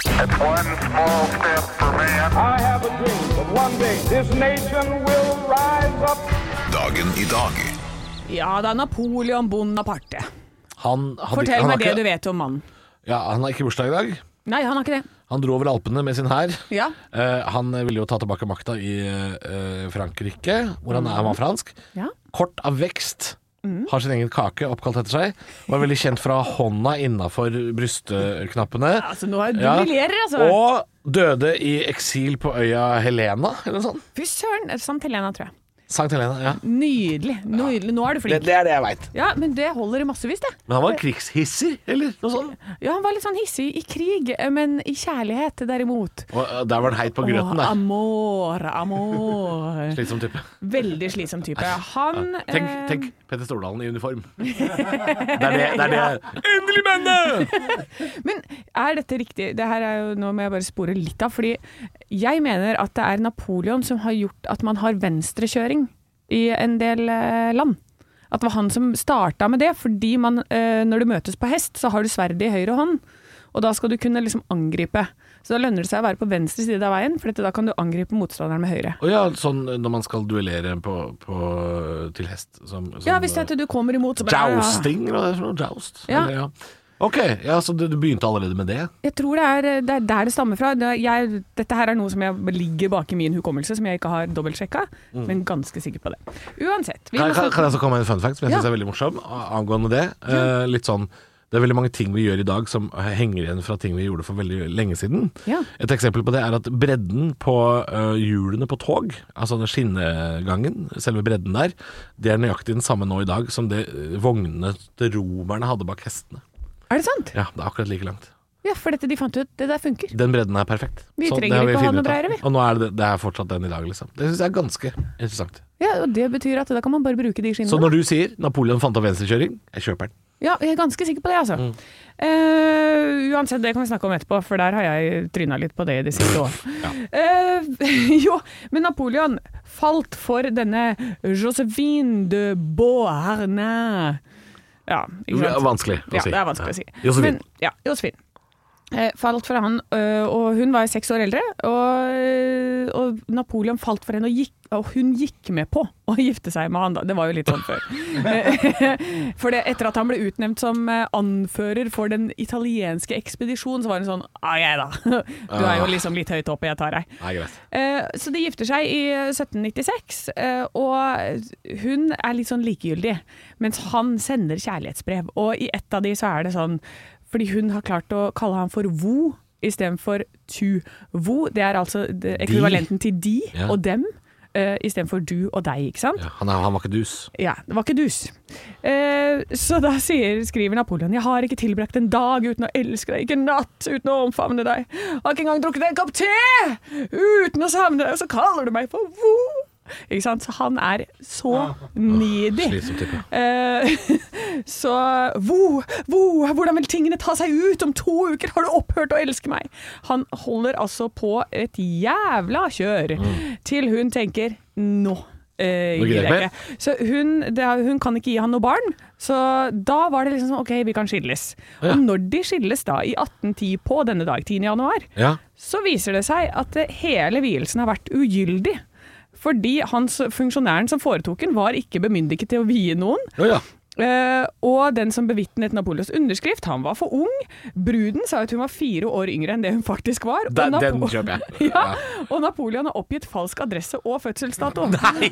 [SPEAKER 5] It's one small step for man.
[SPEAKER 6] I have a dream that one day this nation will rise up.
[SPEAKER 2] Dagen i dag
[SPEAKER 4] Ja da, Napoleon Bonaparte.
[SPEAKER 3] Han hadde,
[SPEAKER 4] Fortell
[SPEAKER 3] han har
[SPEAKER 4] meg det
[SPEAKER 3] ikke-
[SPEAKER 4] du vet om mannen.
[SPEAKER 3] Ja, han har ikke bursdag i dag.
[SPEAKER 4] Nei, han har ikke det.
[SPEAKER 3] Han dro over Alpene med sin hær.
[SPEAKER 4] Ja.
[SPEAKER 3] Eh, han ville jo ta tilbake makta i eh, Frankrike, hvor han, er- han var fransk.
[SPEAKER 4] Ja. Mm.
[SPEAKER 3] Kort av vekst Har sin egen kake oppkalt etter seg. Var veldig kjent fra hånda innafor brystknappene.
[SPEAKER 4] Altså, nå er du briljerer, altså.
[SPEAKER 3] Og døde i eksil på øya Helena, eller noe sånt.
[SPEAKER 4] Fy søren! Samt Helena, tror jeg.
[SPEAKER 3] Sankt Helena, ja.
[SPEAKER 4] Nydelig. nydelig. Nå er du
[SPEAKER 3] Det,
[SPEAKER 4] flink.
[SPEAKER 3] det er det jeg veit.
[SPEAKER 4] Ja, men det holder i massevis, det.
[SPEAKER 3] Men han var krigshisser, eller noe sånt.
[SPEAKER 4] Ja, han var litt sånn hissig i krig, eh, men i kjærlighet derimot.
[SPEAKER 3] Og eh, der var han heit på grøten,
[SPEAKER 4] Åh,
[SPEAKER 3] da.
[SPEAKER 4] amor,
[SPEAKER 3] *laughs*
[SPEAKER 4] amor.
[SPEAKER 3] Slitsom type.
[SPEAKER 4] Veldig slitsom type. Han
[SPEAKER 3] Tenk,
[SPEAKER 4] eh,
[SPEAKER 3] tenk Petter Stordalen i uniform. *laughs* Det er det, det, er det. Endelig, bandet!
[SPEAKER 4] Men er dette riktig? Det her er jo, nå må jeg bare spore litt av, fordi jeg mener at det er Napoleon som har gjort at man har venstrekjøring i en del eh, land. At det var han som starta med det, fordi man, eh, når du møtes på hest, så har du sverdet i høyre hånd, og da skal du kunne liksom angripe. Så da lønner det seg å være på venstre side av veien, for dette, da kan du angripe motstanderen med høyre.
[SPEAKER 3] Å ja, sånn når man skal duellere på, på, øh, til hest som, som øh,
[SPEAKER 4] Ja, hvis det er at du kommer imot, så bare
[SPEAKER 3] Jousting, eller hva det er for noe? Joust?
[SPEAKER 4] Ja.
[SPEAKER 3] Eller, ja. Ok, ja, så du, du begynte allerede med det?
[SPEAKER 4] Jeg tror det er, det er der det stammer fra. Det, jeg, dette her er noe som jeg ligger bak i min hukommelse, som jeg ikke har dobbeltsjekka, men ganske sikker på det. Uansett.
[SPEAKER 3] Mm. Kan,
[SPEAKER 4] Vi må
[SPEAKER 3] kan,
[SPEAKER 4] snakke-
[SPEAKER 3] kan jeg så komme med en fun fact som jeg
[SPEAKER 4] Ja.
[SPEAKER 3] synes er veldig morsom a- angående det? Eh, litt sånn det er veldig mange ting vi gjør i dag som henger igjen fra ting vi gjorde for veldig lenge siden.
[SPEAKER 4] Ja.
[SPEAKER 3] Et eksempel på det er at bredden på eh, hjulene på tog, altså den skinnegangen, selve bredden der, det er nøyaktig den samme nå i dag som det eh, vognene til romerne hadde bak hestene.
[SPEAKER 4] Er det sant?
[SPEAKER 3] Ja, det er akkurat like langt.
[SPEAKER 4] Ja, for dette de fant ut, det der funker.
[SPEAKER 3] Den bredden er perfekt. Sånn,
[SPEAKER 4] Vi
[SPEAKER 3] det
[SPEAKER 4] trenger
[SPEAKER 3] har
[SPEAKER 4] ikke å ha
[SPEAKER 3] funnet ut
[SPEAKER 4] noe
[SPEAKER 3] av.
[SPEAKER 4] bredere, vi.
[SPEAKER 3] Og nå er det, det er fortsatt den i dag, liksom. Det syns jeg er ganske interessant.
[SPEAKER 4] Ja, og Det betyr at da kan man bare bruke de skinnene.
[SPEAKER 3] Så når du sier Napoleon fant opp venstrekjøring, jeg kjøper den.
[SPEAKER 4] Ja, jeg er ganske sikker på det, altså. Eh, uansett, det kan vi snakke om etterpå, for der har jeg tryna litt på det i det siste år. Eh, *laughs* jo, men Napoleon falt for denne Josephine de Beauharnais. Ja, ikke
[SPEAKER 3] Det
[SPEAKER 4] sant?
[SPEAKER 3] er vanskelig å
[SPEAKER 4] ja,
[SPEAKER 3] si.
[SPEAKER 4] det er vanskelig å si.
[SPEAKER 3] Ja. Josefin.
[SPEAKER 4] Men, ja, Josefin. Eh, falt for han, øh, og hun var jo seks år eldre, og, og Napoleon falt for henne, og, gikk, og hun gikk med på å gifte seg med han. da. Det var jo litt sånn før. *laughs* Eh, for det, etter at han ble utnevnt som eh, anfører for den italienske ekspedisjonen, så var hun sånn Ja, jeg, da. *laughs* Du er
[SPEAKER 3] Ah.
[SPEAKER 4] jo liksom litt høyt oppe, jeg tar deg.
[SPEAKER 3] Nei, greit.
[SPEAKER 4] Eh, Så de gifter seg i 1796, eh, og hun er litt sånn likegyldig, mens han sender kjærlighetsbrev. Og i ett av de så er det sånn, fordi hun har klart å kalle han for Vo istedenfor Tu. Vo, det er altså det ekvivalenten til de
[SPEAKER 3] Ja.
[SPEAKER 4] og dem, eh, istedenfor du og deg, ikke sant?
[SPEAKER 3] Ja, han, er, han var ikke dus.
[SPEAKER 4] Ja, det var ikke dus. Eh, så da sier, skriver Napoleon Jeg har ikke tilbrakt en dag uten å elske deg, ikke en natt uten å omfavne deg. Har ikke engang drukket en kopp te uten å savne deg, og så kaller du meg for vo. Ikke sant? Så han er så needy.
[SPEAKER 3] Slitsom type.
[SPEAKER 4] Eh, *laughs* så vo, vo, hvordan vil tingene ta seg ut om to uker? Har du opphørt å elske meg? Han holder altså på et jævla kjør til hun tenker nå.
[SPEAKER 3] Mm.
[SPEAKER 4] eh,
[SPEAKER 3] Nå gidder jeg
[SPEAKER 4] gidder
[SPEAKER 3] ikke
[SPEAKER 4] jeg
[SPEAKER 3] mer.
[SPEAKER 4] ikke. Så hun, det, er- hun kan ikke gi han noe barn, så da var det liksom sånn OK, vi kan skilles.
[SPEAKER 3] Ja.
[SPEAKER 4] Og når de skilles da, i 1810 på denne dag, 10. januar,
[SPEAKER 3] Ja.
[SPEAKER 4] så viser det seg at eh, hele vielsen har vært ugyldig. Fordi hans funksjonæren som foretok den, var ikke bemyndiget til å vie noen.
[SPEAKER 3] Å ja.
[SPEAKER 4] Eh, og den som bevitnet Napoleons underskrift, han var for ung. Bruden sa at hun var fire år yngre enn det hun faktisk var. og
[SPEAKER 3] Den, den
[SPEAKER 4] Napo-
[SPEAKER 3] kjøper jeg.
[SPEAKER 4] *laughs* Ja, og Napoleon har oppgitt falsk adresse og fødselsdato.
[SPEAKER 3] Nei!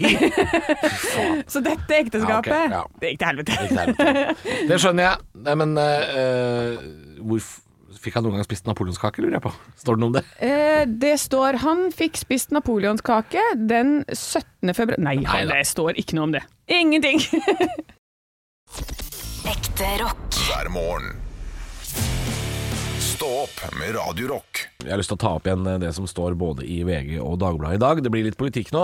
[SPEAKER 4] Så dette ekteskapet,
[SPEAKER 3] Ja, ok, ja.
[SPEAKER 4] det gikk til helvete.
[SPEAKER 3] Det skjønner jeg. Nei, men eh, hvorf- Fikk han noen gang spist napoleonskake, lurer jeg på. Står det noe om det?
[SPEAKER 4] Eh, det står han fikk spist napoleonskake den 17. februar Nei, han,
[SPEAKER 3] Neida.
[SPEAKER 4] det står ikke noe om det. Ingenting.
[SPEAKER 1] Ekte rock.
[SPEAKER 2] hver morgen. Stå opp med Radio Rock.
[SPEAKER 3] Jeg har lyst til å ta opp igjen eh, det som står både i VG og Dagbladet i dag. Det blir litt politikk nå,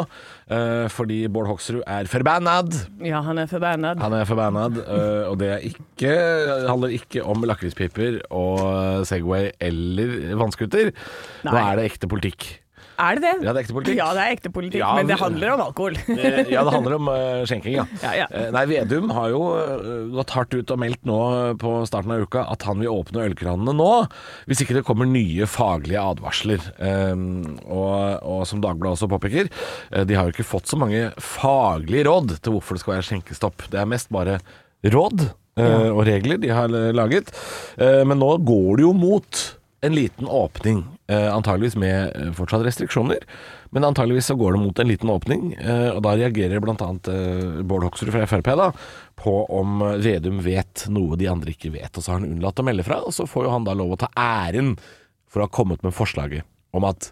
[SPEAKER 3] eh, fordi Bård Hoksrud er forbannad.
[SPEAKER 4] *laughs* ja, han er forbanna.
[SPEAKER 3] Han er forbannad, øh, og det er ikke, handler ikke om lakrispiper og Segway eller vannskuter. Nå
[SPEAKER 4] Nei.
[SPEAKER 3] er det ekte politikk.
[SPEAKER 4] Er det det?
[SPEAKER 3] Ja, det er ekte politikk.
[SPEAKER 4] Ja, det er ekte politikk,
[SPEAKER 3] Ja,
[SPEAKER 4] men det
[SPEAKER 3] vi-
[SPEAKER 4] handler om alkohol.
[SPEAKER 3] Eh, Ja, det handler om øh, skjenking, ja.
[SPEAKER 4] Ja, ja.
[SPEAKER 3] Eh, Nei, Vedum har jo øh, gått hardt ut og meldt nå øh, på starten av uka at han vil åpne ølkranene nå, hvis ikke det kommer nye faglige advarsler. Ehm, og, og som Dagbladet også påpeker, eh, de har jo ikke fått så mange faglige råd til hvorfor det skal være skjenkestopp. Det er mest bare råd eh, og regler de har eh, laget. Eh, men nå går det jo mot en liten åpning, eh, antageligvis med eh, fortsatt restriksjoner. Men antageligvis så går det mot en liten åpning, eh, og da reagerer bl.a. Eh, Bård Hoksrud fra Frp da, på om Vedum vet noe de andre ikke vet, og så har han unnlatt å melde fra. Og så får jo han da lov å ta æren for å ha kommet med forslaget om at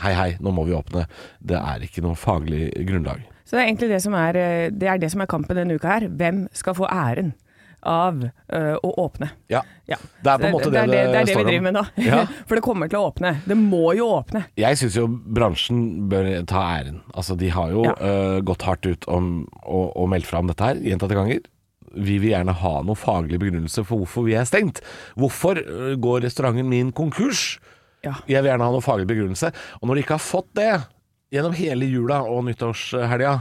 [SPEAKER 3] hei, hei, nå må vi åpne. Det er ikke noe faglig grunnlag.
[SPEAKER 4] Så det er egentlig det som er, eh, det er, det som er kampen denne uka her. Hvem skal få æren av eh, å åpne?
[SPEAKER 3] Ja.
[SPEAKER 4] Ja.
[SPEAKER 3] Det er på en måte det
[SPEAKER 4] det,
[SPEAKER 3] det,
[SPEAKER 4] er det, er det
[SPEAKER 3] står
[SPEAKER 4] vi
[SPEAKER 3] om.
[SPEAKER 4] driver med nå.
[SPEAKER 3] Ja.
[SPEAKER 4] *laughs* For det kommer til å åpne. Det må jo åpne.
[SPEAKER 3] Jeg syns jo bransjen bør ta æren. Altså, de har jo
[SPEAKER 4] Ja.
[SPEAKER 3] øh, gått hardt ut om, og, og meldt fra om dette her gjentatte ganger. Vi vil gjerne ha noen faglig begrunnelse for hvorfor vi er stengt. Hvorfor øh, går restauranten min konkurs?
[SPEAKER 4] Ja.
[SPEAKER 3] Jeg vil gjerne ha noen faglig begrunnelse. Og når de ikke har fått det gjennom hele jula og nyttårshelga,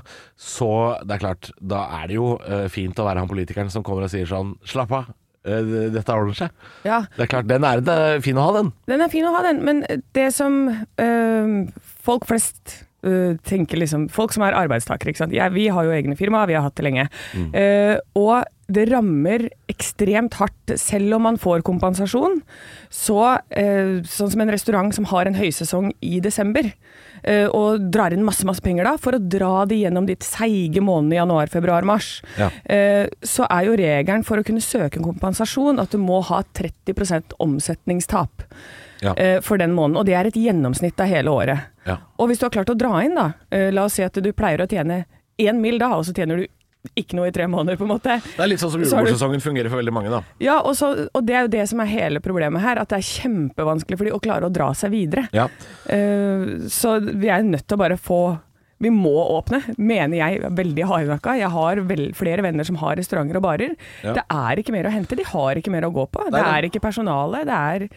[SPEAKER 3] så det er klart, da er det jo øh, fint å være han politikeren som kommer og sier sånn Slapp av, øh, dette ordner seg.
[SPEAKER 4] Ja,
[SPEAKER 3] Det er klart, den æren er fin å ha, den.
[SPEAKER 4] Den er fin å ha, den. Men det som eh, folk flest eh, tenker liksom Folk som er arbeidstakere, ikke sant. Ja, vi har jo egne firma, vi har hatt det lenge. Eh, og det rammer ekstremt hardt. Selv om man får kompensasjon, så eh, Sånn som en restaurant som har en høysesong i desember, eh, og drar inn masse, masse penger da, for å dra de gjennom de seige månedene januar, februar, mars.
[SPEAKER 3] Ja.
[SPEAKER 4] Eh, så er jo regelen for å kunne søke en kompensasjon at du må ha 30 omsetningstap
[SPEAKER 3] Ja.
[SPEAKER 4] eh, for den måneden. Og det er et gjennomsnitt av hele året.
[SPEAKER 3] Ja.
[SPEAKER 4] Og hvis du har klart å dra inn, da, eh, la oss si at du pleier å tjene én mil da, og så tjener du ikke noe i tre måneder, på en måte.
[SPEAKER 3] Det er litt sånn som
[SPEAKER 4] Så har du-
[SPEAKER 3] julebordsesongen fungerer for veldig mange, da.
[SPEAKER 4] Ja, og, så, og det er jo det som er hele problemet her, at det er kjempevanskelig for de å klare å dra seg videre.
[SPEAKER 3] Ja.
[SPEAKER 4] Eh, så vi er nødt til å bare få vi må åpne, mener jeg er veldig hardnakka. Jeg har vel, flere venner som har restauranter og barer.
[SPEAKER 3] Ja.
[SPEAKER 4] Det er ikke mer å hente, de har ikke mer å gå på.
[SPEAKER 3] Nei,
[SPEAKER 4] det
[SPEAKER 3] nei.
[SPEAKER 4] er ikke personale, det er,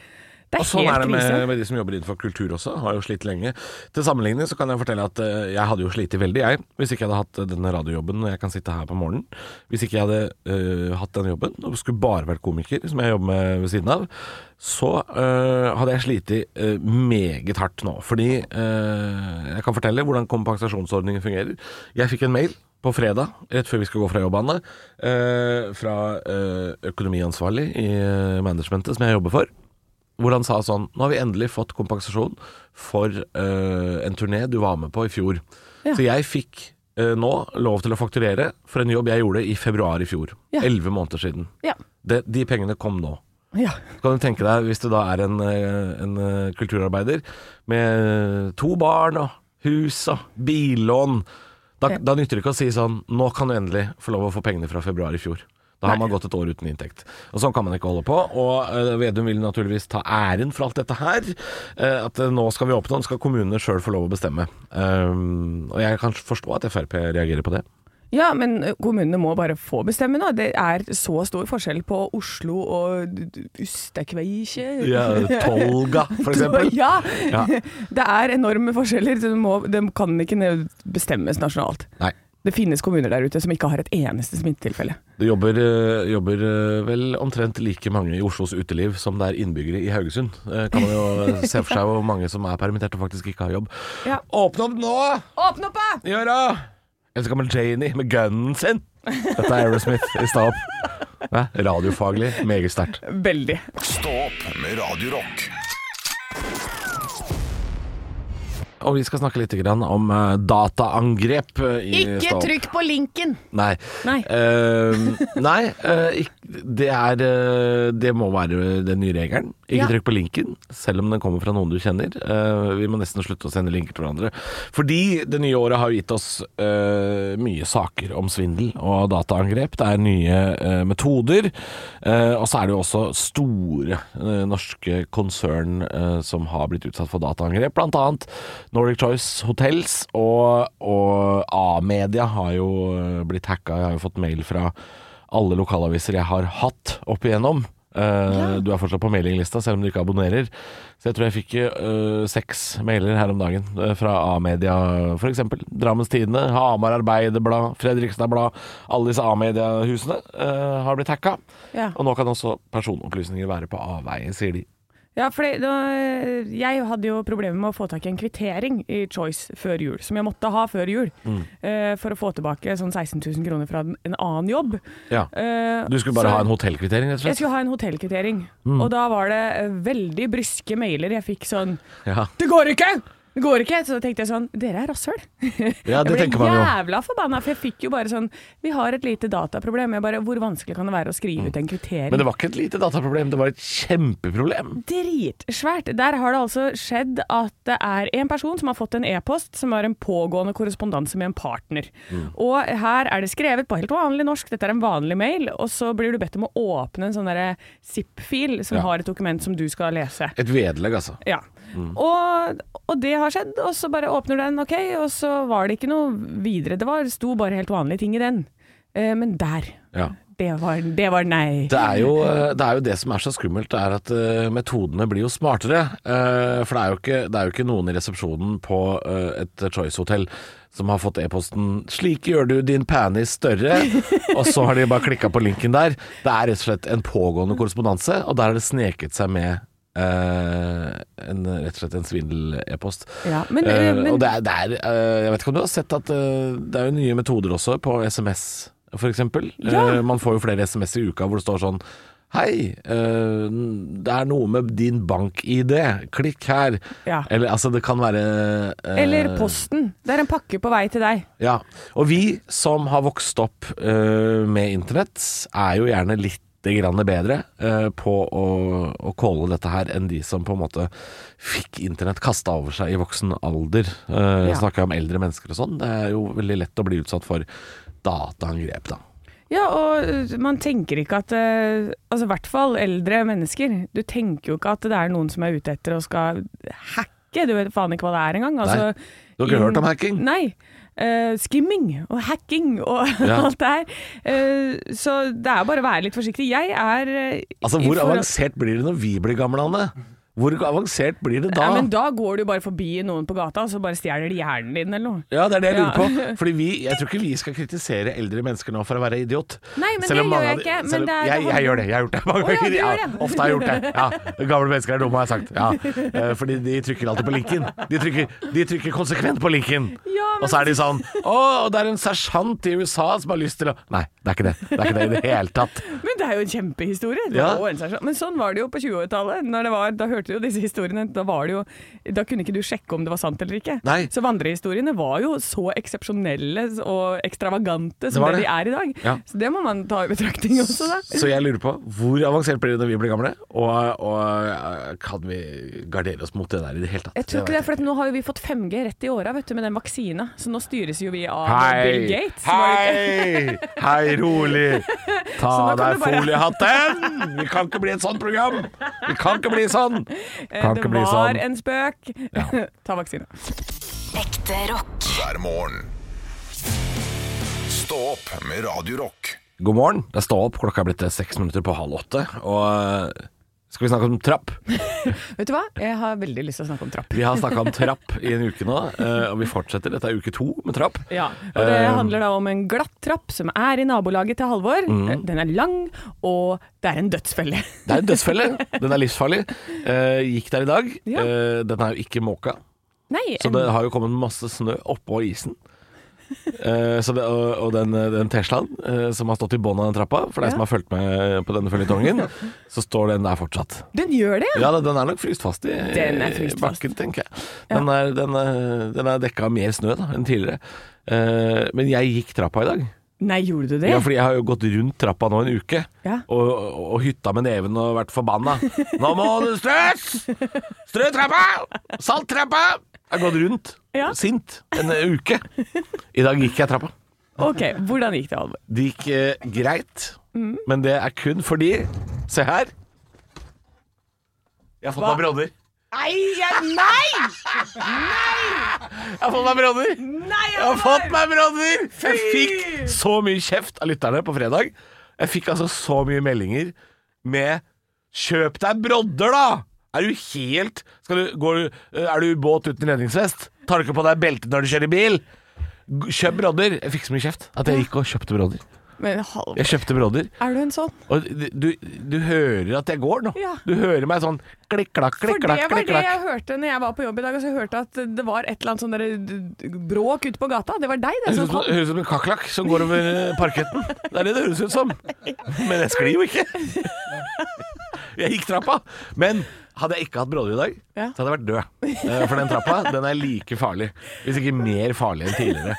[SPEAKER 4] det er
[SPEAKER 3] Og sånn
[SPEAKER 4] helt
[SPEAKER 3] er det
[SPEAKER 4] krise.
[SPEAKER 3] med, med de som jobber innenfor kultur også, har jo slitt lenge. Til sammenligning så kan jeg fortelle at eh, jeg hadde jo slitt veldig, jeg, hvis ikke jeg hadde hatt eh, denne radiojobben når jeg kan sitte her på morgenen. Hvis ikke jeg hadde eh, hatt den jobben, og skulle bare vært komiker, som jeg jobber med ved siden av, så eh, hadde jeg slitt meget hardt nå. Fordi eh, jeg kan fortelle hvordan kompensasjonsordningen fungerer. Jeg fikk en mail på fredag, rett før vi skal gå fra jobb, Anne, eh, fra eh, økonomiansvarlig i eh, managementet som jeg jobber for hvor han sa sånn Nå har vi endelig fått kompensasjon for eh, en turné du var med på i fjor.
[SPEAKER 4] Ja.
[SPEAKER 3] Så jeg fikk eh, nå lov til å fakturere for en jobb jeg gjorde i februar i fjor.
[SPEAKER 4] Ja.
[SPEAKER 3] Elleve måneder siden.
[SPEAKER 4] Ja.
[SPEAKER 3] Det, de pengene kom nå.
[SPEAKER 4] Ja.
[SPEAKER 3] Så kan du tenke deg, hvis du da er en, eh, en eh, kulturarbeider med eh, to barn og hus og billån, da,
[SPEAKER 4] Ja.
[SPEAKER 3] da nytter det ikke å si sånn Nå kan du endelig få lov å få pengene fra februar i fjor. Da har man gått et år uten inntekt. Og Sånn kan man ikke holde på. Og eh, Vedum vil naturligvis ta æren for alt dette her. eh, At eh, nå skal vi åpne, og nå skal kommunene sjøl få lov å bestemme. Um, Og jeg kan forstå at Frp reagerer på det.
[SPEAKER 4] Ja, men ø, kommunene må bare få bestemme nå. Det er så stor forskjell på Oslo og d- d- Ustekveikje.
[SPEAKER 3] *laughs* Tolga,
[SPEAKER 4] *laughs*
[SPEAKER 3] for eksempel.
[SPEAKER 4] Ja.
[SPEAKER 3] Ja.
[SPEAKER 4] *laughs* Det er enorme forskjeller. så Det, må, det kan ikke ned- bestemmes nasjonalt.
[SPEAKER 3] Nei.
[SPEAKER 4] Det finnes kommuner der ute som ikke har et eneste smittetilfelle.
[SPEAKER 3] Det jobber, eh, jobber eh, vel omtrent like mange i Oslos uteliv som det er innbyggere i Haugesund. Eh, Kan man jo se for seg hvor mange som er permittert og faktisk ikke har jobb.
[SPEAKER 4] Ja.
[SPEAKER 3] Åpne opp nå!
[SPEAKER 4] Åpne opp, da!
[SPEAKER 3] Gjør det! Eller så kommer Janie med gunnen sin. Dette er Aerosmith i stad opp. Nei, Radiofaglig meget sterkt.
[SPEAKER 4] Veldig.
[SPEAKER 2] Stå opp med Radio Rock.
[SPEAKER 3] Og vi skal snakke litt grann om eh, dataangrep. eh, i Stå opp.
[SPEAKER 4] på linken!
[SPEAKER 3] Nei.
[SPEAKER 4] Nei.
[SPEAKER 3] Eh, nei eh, ikk- det, er, eh, det må være den nye regelen. Ikke
[SPEAKER 4] Ja.
[SPEAKER 3] trykk på linken, selv om den kommer fra noen du kjenner. Eh, vi må nesten slutte å sende linker til hverandre. Fordi det nye året har jo gitt oss eh, mye saker om svindel og dataangrep. Det er nye eh, metoder. eh, og så er det jo også store eh, norske konsern eh, som har blitt utsatt for dataangrep. Blant annet Nordic Choice Hotels og, og A-media har jo eh, blitt hacka. Jeg har jo fått mail fra alle lokalaviser jeg har hatt opp igjennom. Eh, Du er fortsatt på mailinglista, selv om du ikke abonnerer. Så jeg tror jeg fikk eh, seks mailer her om dagen eh, fra A-media f.eks. Drammens Tidende, Hamar Arbeiderblad, Fredrikstad Blad. Alle disse A-mediehusene eh, har blitt hacka.
[SPEAKER 4] Ja.
[SPEAKER 3] Og nå kan også personopplysninger være på avveie, sier de.
[SPEAKER 4] Ja, for det, da, jeg hadde jo problemer med å få tak i en kvittering i Choice før jul, som jeg måtte ha før jul,
[SPEAKER 3] Mm.
[SPEAKER 4] eh, for å få tilbake sånn 16 000 kroner fra en en annen jobb.
[SPEAKER 3] Ja.
[SPEAKER 4] Eh,
[SPEAKER 3] Du skulle bare
[SPEAKER 4] så-
[SPEAKER 3] ha en Mm. hotellkvittering, rett og
[SPEAKER 4] Jeg
[SPEAKER 3] slett?
[SPEAKER 4] skulle ha en hotellkvittering, og da var det eh, veldig bryske mailer jeg fikk sånn
[SPEAKER 3] Ja,
[SPEAKER 4] Det går ikke! Det går ikke! Så da tenkte jeg sånn Dere er rasshøl. *laughs*
[SPEAKER 3] ja det
[SPEAKER 4] jeg
[SPEAKER 3] tenker man jo.
[SPEAKER 4] jævla forbanna, for jeg fikk jo bare sånn Vi har et lite dataproblem. Jeg bare Hvor vanskelig kan det være å skrive ut en
[SPEAKER 3] Mm.
[SPEAKER 4] kvittering?
[SPEAKER 3] Men det var ikke et lite dataproblem, det var et kjempeproblem.
[SPEAKER 4] dritsvært. Der har det altså skjedd at det er en person som har fått en e-post som har en pågående korrespondanse med en partner. Og her er det skrevet på helt vanlig norsk, dette er en vanlig mail, og så blir du bedt om å åpne en sånn derre zip-fil som
[SPEAKER 3] Ja.
[SPEAKER 4] har et dokument som du skal lese.
[SPEAKER 3] Et vedlegg, altså.
[SPEAKER 4] Ja. Og, og det har skjedd, og så bare åpner du den, ok, og så var det ikke noe videre. Det var, sto bare helt vanlige ting i den. Eh, men der.
[SPEAKER 3] Ja.
[SPEAKER 4] Det var, det var nei.
[SPEAKER 3] Det er, jo, eh, det er jo det som er så skummelt, det er at eh, metodene blir jo smartere. Eh, For det er jo ikke, det er jo ikke noen i resepsjonen på eh, et Choice-hotell som har fått e-posten 'Slik gjør du din penis
[SPEAKER 4] *laughs*
[SPEAKER 3] større', og så har de bare klikka på linken der. Det er rett og slett en pågående korrespondanse, og der har det sneket seg med eh, en, rett og slett en svindel-e-post.
[SPEAKER 4] Ja, men-
[SPEAKER 3] Eh,
[SPEAKER 4] men-
[SPEAKER 3] og det er, det er eh, Jeg vet ikke om du har sett at eh, det er jo nye metoder også på SMS, for eksempel.
[SPEAKER 4] Ja.
[SPEAKER 3] Eh, Man får jo flere SMS i uka hvor det står sånn Hei, eh, det er noe med din bank-ID. Klikk her.
[SPEAKER 4] Ja.
[SPEAKER 3] Eller altså, det kan være eh,
[SPEAKER 4] Eller Posten. Det er en pakke på vei til deg.
[SPEAKER 3] Ja. Og vi som har vokst opp eh, med internett, er jo gjerne litt grann bedre eh, på å, å calle dette her enn de som på en måte fikk internett kasta over seg i voksen alder. Eh,
[SPEAKER 4] Ja.
[SPEAKER 3] Snakker jeg om eldre mennesker og sånn. Det er jo veldig lett å bli utsatt for dataangrep, da.
[SPEAKER 4] Ja, og uh, man tenker ikke at uh, Altså, i hvert fall eldre mennesker. Du tenker jo ikke at det er noen som er ute etter og skal hacke. Du vet faen ikke hva det er engang. Altså,
[SPEAKER 3] Du har ikke
[SPEAKER 4] inn-
[SPEAKER 3] hørt om hacking?
[SPEAKER 4] Nei. Uh, skimming og hacking og *laughs*
[SPEAKER 3] Ja.
[SPEAKER 4] alt det her. Uh, så det er bare å være litt forsiktig. Jeg er uh,
[SPEAKER 3] Altså,
[SPEAKER 4] i
[SPEAKER 3] hvor
[SPEAKER 4] forhold-
[SPEAKER 3] avansert blir det når vi blir gamle, Anne? Hvor avansert blir det da?
[SPEAKER 4] Ja, men da går du bare forbi noen på gata, og så bare stjeler de hjernen din eller noe.
[SPEAKER 3] Ja, det er det jeg lurer
[SPEAKER 4] Ja.
[SPEAKER 3] på. Fordi vi, Jeg tror ikke vi skal kritisere eldre mennesker nå for å være idiot.
[SPEAKER 4] Nei, men
[SPEAKER 3] Selv
[SPEAKER 4] det
[SPEAKER 3] om mange
[SPEAKER 4] gjør jeg
[SPEAKER 3] av de-
[SPEAKER 4] ikke, men
[SPEAKER 3] selv om-
[SPEAKER 4] det er- det
[SPEAKER 3] jeg, jeg
[SPEAKER 4] handler-
[SPEAKER 3] gjør det. Jeg har gjort det mange
[SPEAKER 4] Å, ja,
[SPEAKER 3] ganger.
[SPEAKER 4] du gjør
[SPEAKER 3] ja,
[SPEAKER 4] det.
[SPEAKER 3] ofte har jeg gjort det. Ja, Gamle mennesker er dumme, har jeg sagt. Ja. eh, Fordi de trykker alltid på linken. De trykker, de trykker konsekvent på linken.
[SPEAKER 4] Ja, men-
[SPEAKER 3] Og så er de sånn Å, og det er en sersjant i USA som har lyst til å Nei, det er ikke det. Det er ikke det i det hele tatt.
[SPEAKER 4] Men det er jo en kjempehistorie. Det
[SPEAKER 3] Ja.
[SPEAKER 4] var jo en sensasjon. Men sånn var det jo på 20-tallet. Når det var- Da hørte du jo disse historiene. Da, var det jo, da kunne ikke du sjekke om det var sant eller ikke.
[SPEAKER 3] Nei.
[SPEAKER 4] Så vandrehistoriene var jo så eksepsjonelle og ekstravagante som
[SPEAKER 3] var
[SPEAKER 4] det,
[SPEAKER 3] det.
[SPEAKER 4] de er i dag.
[SPEAKER 3] Ja.
[SPEAKER 4] Så det må man ta i betraktning også, da.
[SPEAKER 3] Så jeg lurer på hvor avansert blir det når vi blir gamle? Og, og eh, kan vi gardere oss mot det der i det hele tatt?
[SPEAKER 4] Jeg tror ikke
[SPEAKER 3] vet
[SPEAKER 4] det, for at nå har jo vi fått 5G rett i åra vet du, med den vaksina, så nå styres jo vi av
[SPEAKER 3] Hei,
[SPEAKER 4] Bill Gates. var det ikke?
[SPEAKER 3] hei, hei, rolig. Ta
[SPEAKER 4] Så nå kan
[SPEAKER 3] deg
[SPEAKER 4] du bare-
[SPEAKER 3] foliehatten! Vi kan ikke bli et sånt program! Vi kan ikke bli sånn!
[SPEAKER 4] Eh,
[SPEAKER 3] Kan
[SPEAKER 4] det
[SPEAKER 3] ikke bli
[SPEAKER 4] var
[SPEAKER 3] sånn.
[SPEAKER 4] en spøk. *laughs* ta vaksina.
[SPEAKER 1] Ekte rock.
[SPEAKER 2] hver morgen. Stå opp med Radio Rock.
[SPEAKER 3] God morgen. Det er stå opp, klokka er blitt eh, seks minutter på halv åtte. Og eh, skal vi snakke om trapp?
[SPEAKER 4] Vet du hva? Jeg har veldig lyst til å snakke om trapp.
[SPEAKER 3] Vi har
[SPEAKER 4] *laughs*
[SPEAKER 3] snakka om trapp i en uke nå, eh, og vi fortsetter. Dette er uke to med trapp.
[SPEAKER 4] Ja, og det
[SPEAKER 3] Eh,
[SPEAKER 4] handler da om en glatt trapp som er i nabolaget til Halvor. Eh, Den er lang, og det er en dødsfelle.
[SPEAKER 3] Mm. Det er en dødsfelle. Den er livsfarlig. Eh, gikk der i dag.
[SPEAKER 4] Ja.
[SPEAKER 3] Eh, den er jo ikke måka.
[SPEAKER 4] *laughs* Nei,
[SPEAKER 3] Så det har jo kommet masse snø oppå isen. Eh, så det, og, og den, den Teslaen eh, som har stått i bånn av den trappa, for deg
[SPEAKER 4] Ja.
[SPEAKER 3] som har fulgt med på denne
[SPEAKER 4] *laughs*
[SPEAKER 3] føljetongen, så står den der fortsatt.
[SPEAKER 4] den gjør det, ja.
[SPEAKER 3] Ja, den- den er nok fryst fast i
[SPEAKER 4] Den er fryst
[SPEAKER 3] i
[SPEAKER 4] fast.
[SPEAKER 3] bakken, tenker jeg. Den er, den, er- den er dekka av mer snø da, enn tidligere. Eh, men jeg gikk trappa i dag.
[SPEAKER 4] Nei, gjorde du det?
[SPEAKER 3] Ja, fordi jeg har jo gått rundt trappa nå en uke,
[SPEAKER 4] Ja.
[SPEAKER 3] og, og, og hytta med neven og vært forbanna. Nå må du strøs! Strø trappa! Salt trappa! Jeg har gått rundt,
[SPEAKER 4] Ja.
[SPEAKER 3] sint, en uke. I dag gikk jeg trappa.
[SPEAKER 4] Ok, hvordan gikk det, Halvor?
[SPEAKER 3] Det gikk eh, greit,
[SPEAKER 4] Mm.
[SPEAKER 3] men det er kun fordi Se her. Jeg har fått meg brodder.
[SPEAKER 4] Nei, nei!
[SPEAKER 3] Jeg har fått meg brodder!
[SPEAKER 4] Nei,
[SPEAKER 3] Jeg har fått meg brodder! Jeg fikk så mye kjeft av lytterne på fredag. Jeg fikk altså så mye meldinger med 'kjøp deg brodder', da! Er du helt skal du, går, du- Er du i båt uten redningsvest? Tar du ikke på deg belte når du kjører bil? G- Kjøp brodder! Jeg fikk så mye kjeft at jeg gikk og kjøpte brodder.
[SPEAKER 4] Men Halvor,
[SPEAKER 3] Jeg kjøpte broder,
[SPEAKER 4] er du en sånn?
[SPEAKER 3] og du, du hører at jeg går nå.
[SPEAKER 4] Ja.
[SPEAKER 3] Du hører meg sånn klikk-klakk,
[SPEAKER 4] For det
[SPEAKER 3] klikk-klakk,
[SPEAKER 4] var det jeg
[SPEAKER 3] klikk-klakk.
[SPEAKER 4] hørte når jeg var på jobb i dag. Altså, jeg hørte at det var et eller annet sånn derre d- d- bråk ute på gata. Det var deg, det.
[SPEAKER 3] Det høres
[SPEAKER 4] som
[SPEAKER 3] ut som-
[SPEAKER 4] kom.
[SPEAKER 3] det høres ut som en kakerlakk som går over eh, parketten. Det er det det høres ut som. Men jeg sklir jo ikke. Jeg gikk trappa. Men hadde jeg ikke hatt Broder i dag,
[SPEAKER 4] Ja.
[SPEAKER 3] så hadde jeg vært død. Eh, For den trappa, den er like farlig. Hvis ikke mer farlig enn tidligere.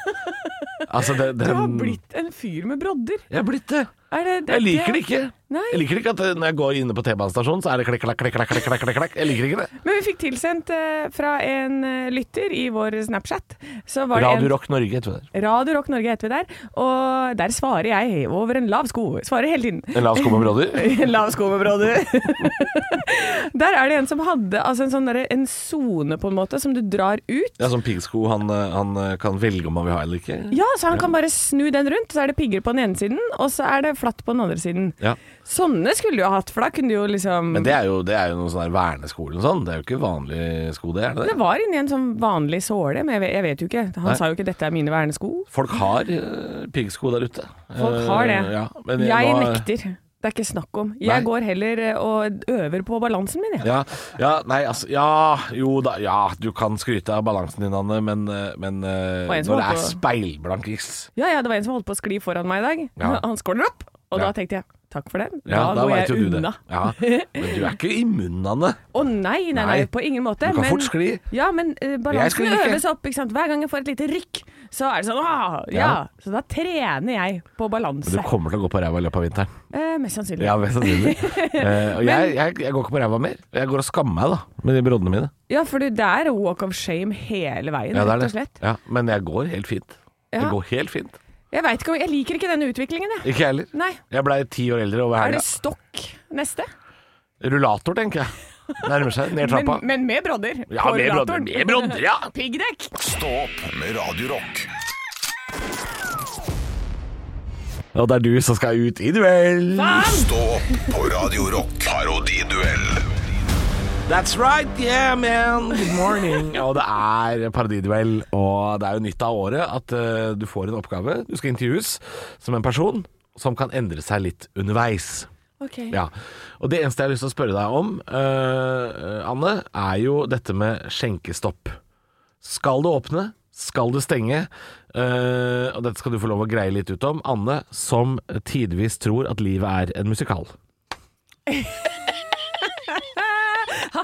[SPEAKER 3] Altså, det, den
[SPEAKER 4] Du har blitt en fyr med brodder.
[SPEAKER 3] Jeg har blitt det.
[SPEAKER 4] Er det,
[SPEAKER 3] Jeg liker det ikke.
[SPEAKER 4] Nei.
[SPEAKER 3] Jeg liker ikke at eh, når jeg går inne på T-banestasjonen, så er det klikk-klakk, klikk-klakk, klikk-klakk. klikk-klakk. Jeg liker ikke det.
[SPEAKER 4] Men vi fikk tilsendt eh, fra en eh, lytter i vår Snapchat. Så var det en-
[SPEAKER 3] Radio Rock Norge, heter det.
[SPEAKER 4] Radio Rock Norge heter vi der, og der svarer jeg over en lav sko. Svarer hele tiden.
[SPEAKER 3] *laughs* En lav sko med Broder.
[SPEAKER 4] *laughs* En lav sko med brodder. *laughs* der er det en som hadde altså en sånn derre- en sone, på en måte, som du drar ut.
[SPEAKER 3] Ja, sånn piggsko. Han, eh, han eh, kan velge om han vil ha eller ikke.
[SPEAKER 4] Ja, så han kan bare snu den rundt, så er det pigger på den ene siden, og så er det flatt på den andre siden.
[SPEAKER 3] Ja.
[SPEAKER 4] Sånne skulle du jo hatt, for da kunne du jo liksom
[SPEAKER 3] Men det er jo, det er jo noen sånn der verneskole og sånn. Det er jo ikke vanlig sko, det er det
[SPEAKER 4] Det
[SPEAKER 3] det?
[SPEAKER 4] var inni en sånn vanlig såle, men jeg vet, jeg vet jo ikke. Han
[SPEAKER 3] Nei.
[SPEAKER 4] sa jo ikke 'dette er mine vernesko'.
[SPEAKER 3] Folk har eh, piggsko der ute.
[SPEAKER 4] Folk har det.
[SPEAKER 3] Eh, ja, men
[SPEAKER 4] Jeg
[SPEAKER 3] nå-
[SPEAKER 4] nekter. Det er ikke snakk om. Jeg
[SPEAKER 3] Nei.
[SPEAKER 4] går heller eh, og øver på balansen min, jeg.
[SPEAKER 3] Ja, ja, nei, altså Ja, jo da. Ja, du kan skryte av balansen din, Anne, men, eh, men eh,
[SPEAKER 4] Og en som
[SPEAKER 3] når det er
[SPEAKER 4] holdt
[SPEAKER 3] speilblank is
[SPEAKER 4] Ja, ja, det var en som holdt på å skli foran meg i dag.
[SPEAKER 3] Ja.
[SPEAKER 4] *laughs* Han skåler opp, og
[SPEAKER 3] Ja.
[SPEAKER 4] da tenkte jeg takk for den.
[SPEAKER 3] ja,
[SPEAKER 4] da, går
[SPEAKER 3] vet
[SPEAKER 4] jeg
[SPEAKER 3] jo du det.
[SPEAKER 4] unna.
[SPEAKER 3] Ja, men du er ikke immun, Anne.
[SPEAKER 4] Å nei, nei, nei,
[SPEAKER 3] Nei.
[SPEAKER 4] på ingen måte.
[SPEAKER 3] Du kan
[SPEAKER 4] men-
[SPEAKER 3] fort skli.
[SPEAKER 4] Ja, men eh, balansen
[SPEAKER 3] sklir ikke.
[SPEAKER 4] øves opp. ikke sant? Hver gang jeg får et lite rykk, så er det sånn ah, ja.
[SPEAKER 3] Ja.
[SPEAKER 4] Så da trener jeg på
[SPEAKER 3] Du
[SPEAKER 4] balanse.
[SPEAKER 3] kommer til å gå på ræva i løpet av vinteren.
[SPEAKER 4] Eh, mest sannsynlig.
[SPEAKER 3] Ja, mest sannsynlig.
[SPEAKER 4] *laughs*
[SPEAKER 3] Eh, og jeg, jeg, jeg går ikke på ræva mer. Jeg går og skammer meg, da, med de broddene mine.
[SPEAKER 4] Ja, for det er walk of shame hele veien,
[SPEAKER 3] Ja, det er det.
[SPEAKER 4] rett og slett.
[SPEAKER 3] Ja, men jeg går helt fint.
[SPEAKER 4] Ja.
[SPEAKER 3] Det går helt fint.
[SPEAKER 4] Jeg vet ikke om, jeg liker ikke denne utviklingen, jeg.
[SPEAKER 3] Ikke jeg heller.
[SPEAKER 4] Nei.
[SPEAKER 3] Jeg blei ti år eldre over
[SPEAKER 4] Er
[SPEAKER 3] helga.
[SPEAKER 4] det stokk neste?
[SPEAKER 3] Rullator, tenker jeg. Nærmer seg. Ned
[SPEAKER 4] Men,
[SPEAKER 3] trappa.
[SPEAKER 4] men med brodder.
[SPEAKER 3] ja,
[SPEAKER 4] på
[SPEAKER 3] med brodder.
[SPEAKER 4] rullatoren.
[SPEAKER 3] Med brodder, ja!
[SPEAKER 4] Piggdekk.
[SPEAKER 2] Stå opp med Radio Rock.
[SPEAKER 3] Og det er du som skal ut i duell.
[SPEAKER 2] Stå opp på Radio Rock. Parodiduell.
[SPEAKER 3] That's right, yeah man. Good morning. og det er parodiduell, og det er jo nytt av året at eh, du får en oppgave. Du skal intervjues som en person som kan endre seg litt underveis.
[SPEAKER 4] Ok.
[SPEAKER 3] Ja. Og det eneste jeg har lyst til å spørre deg om, eh, Anne, er jo dette med skjenkestopp. Skal det åpne? Skal det stenge? Eh, og dette skal du få lov å greie litt ut om. Anne, som tidvis tror at livet er en musikal.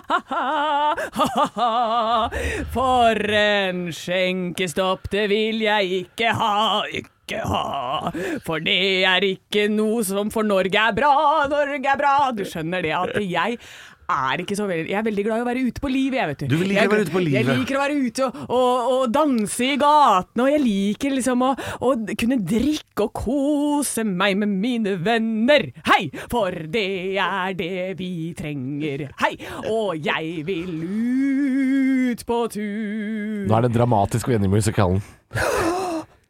[SPEAKER 4] Ha-ha-ha, *laughs* For en skjenkestopp, det vil jeg ikke ha, ikke ha. For det er ikke noe som for Norge er bra, Norge er bra. Du skjønner det at jeg er ikke så veldig Jeg er veldig glad i å være ute på livet, jeg, vet du.
[SPEAKER 3] Du vil like
[SPEAKER 4] jeg,
[SPEAKER 3] å være ute på livet.
[SPEAKER 4] Jeg liker å være ute og, og, og danse i gatene, og jeg liker liksom å, å kunne drikke og kose meg med mine venner. Hei! For det er det vi trenger. Hei! Og jeg vil ut på tur.
[SPEAKER 3] Nå er det dramatisk venn i musikalen.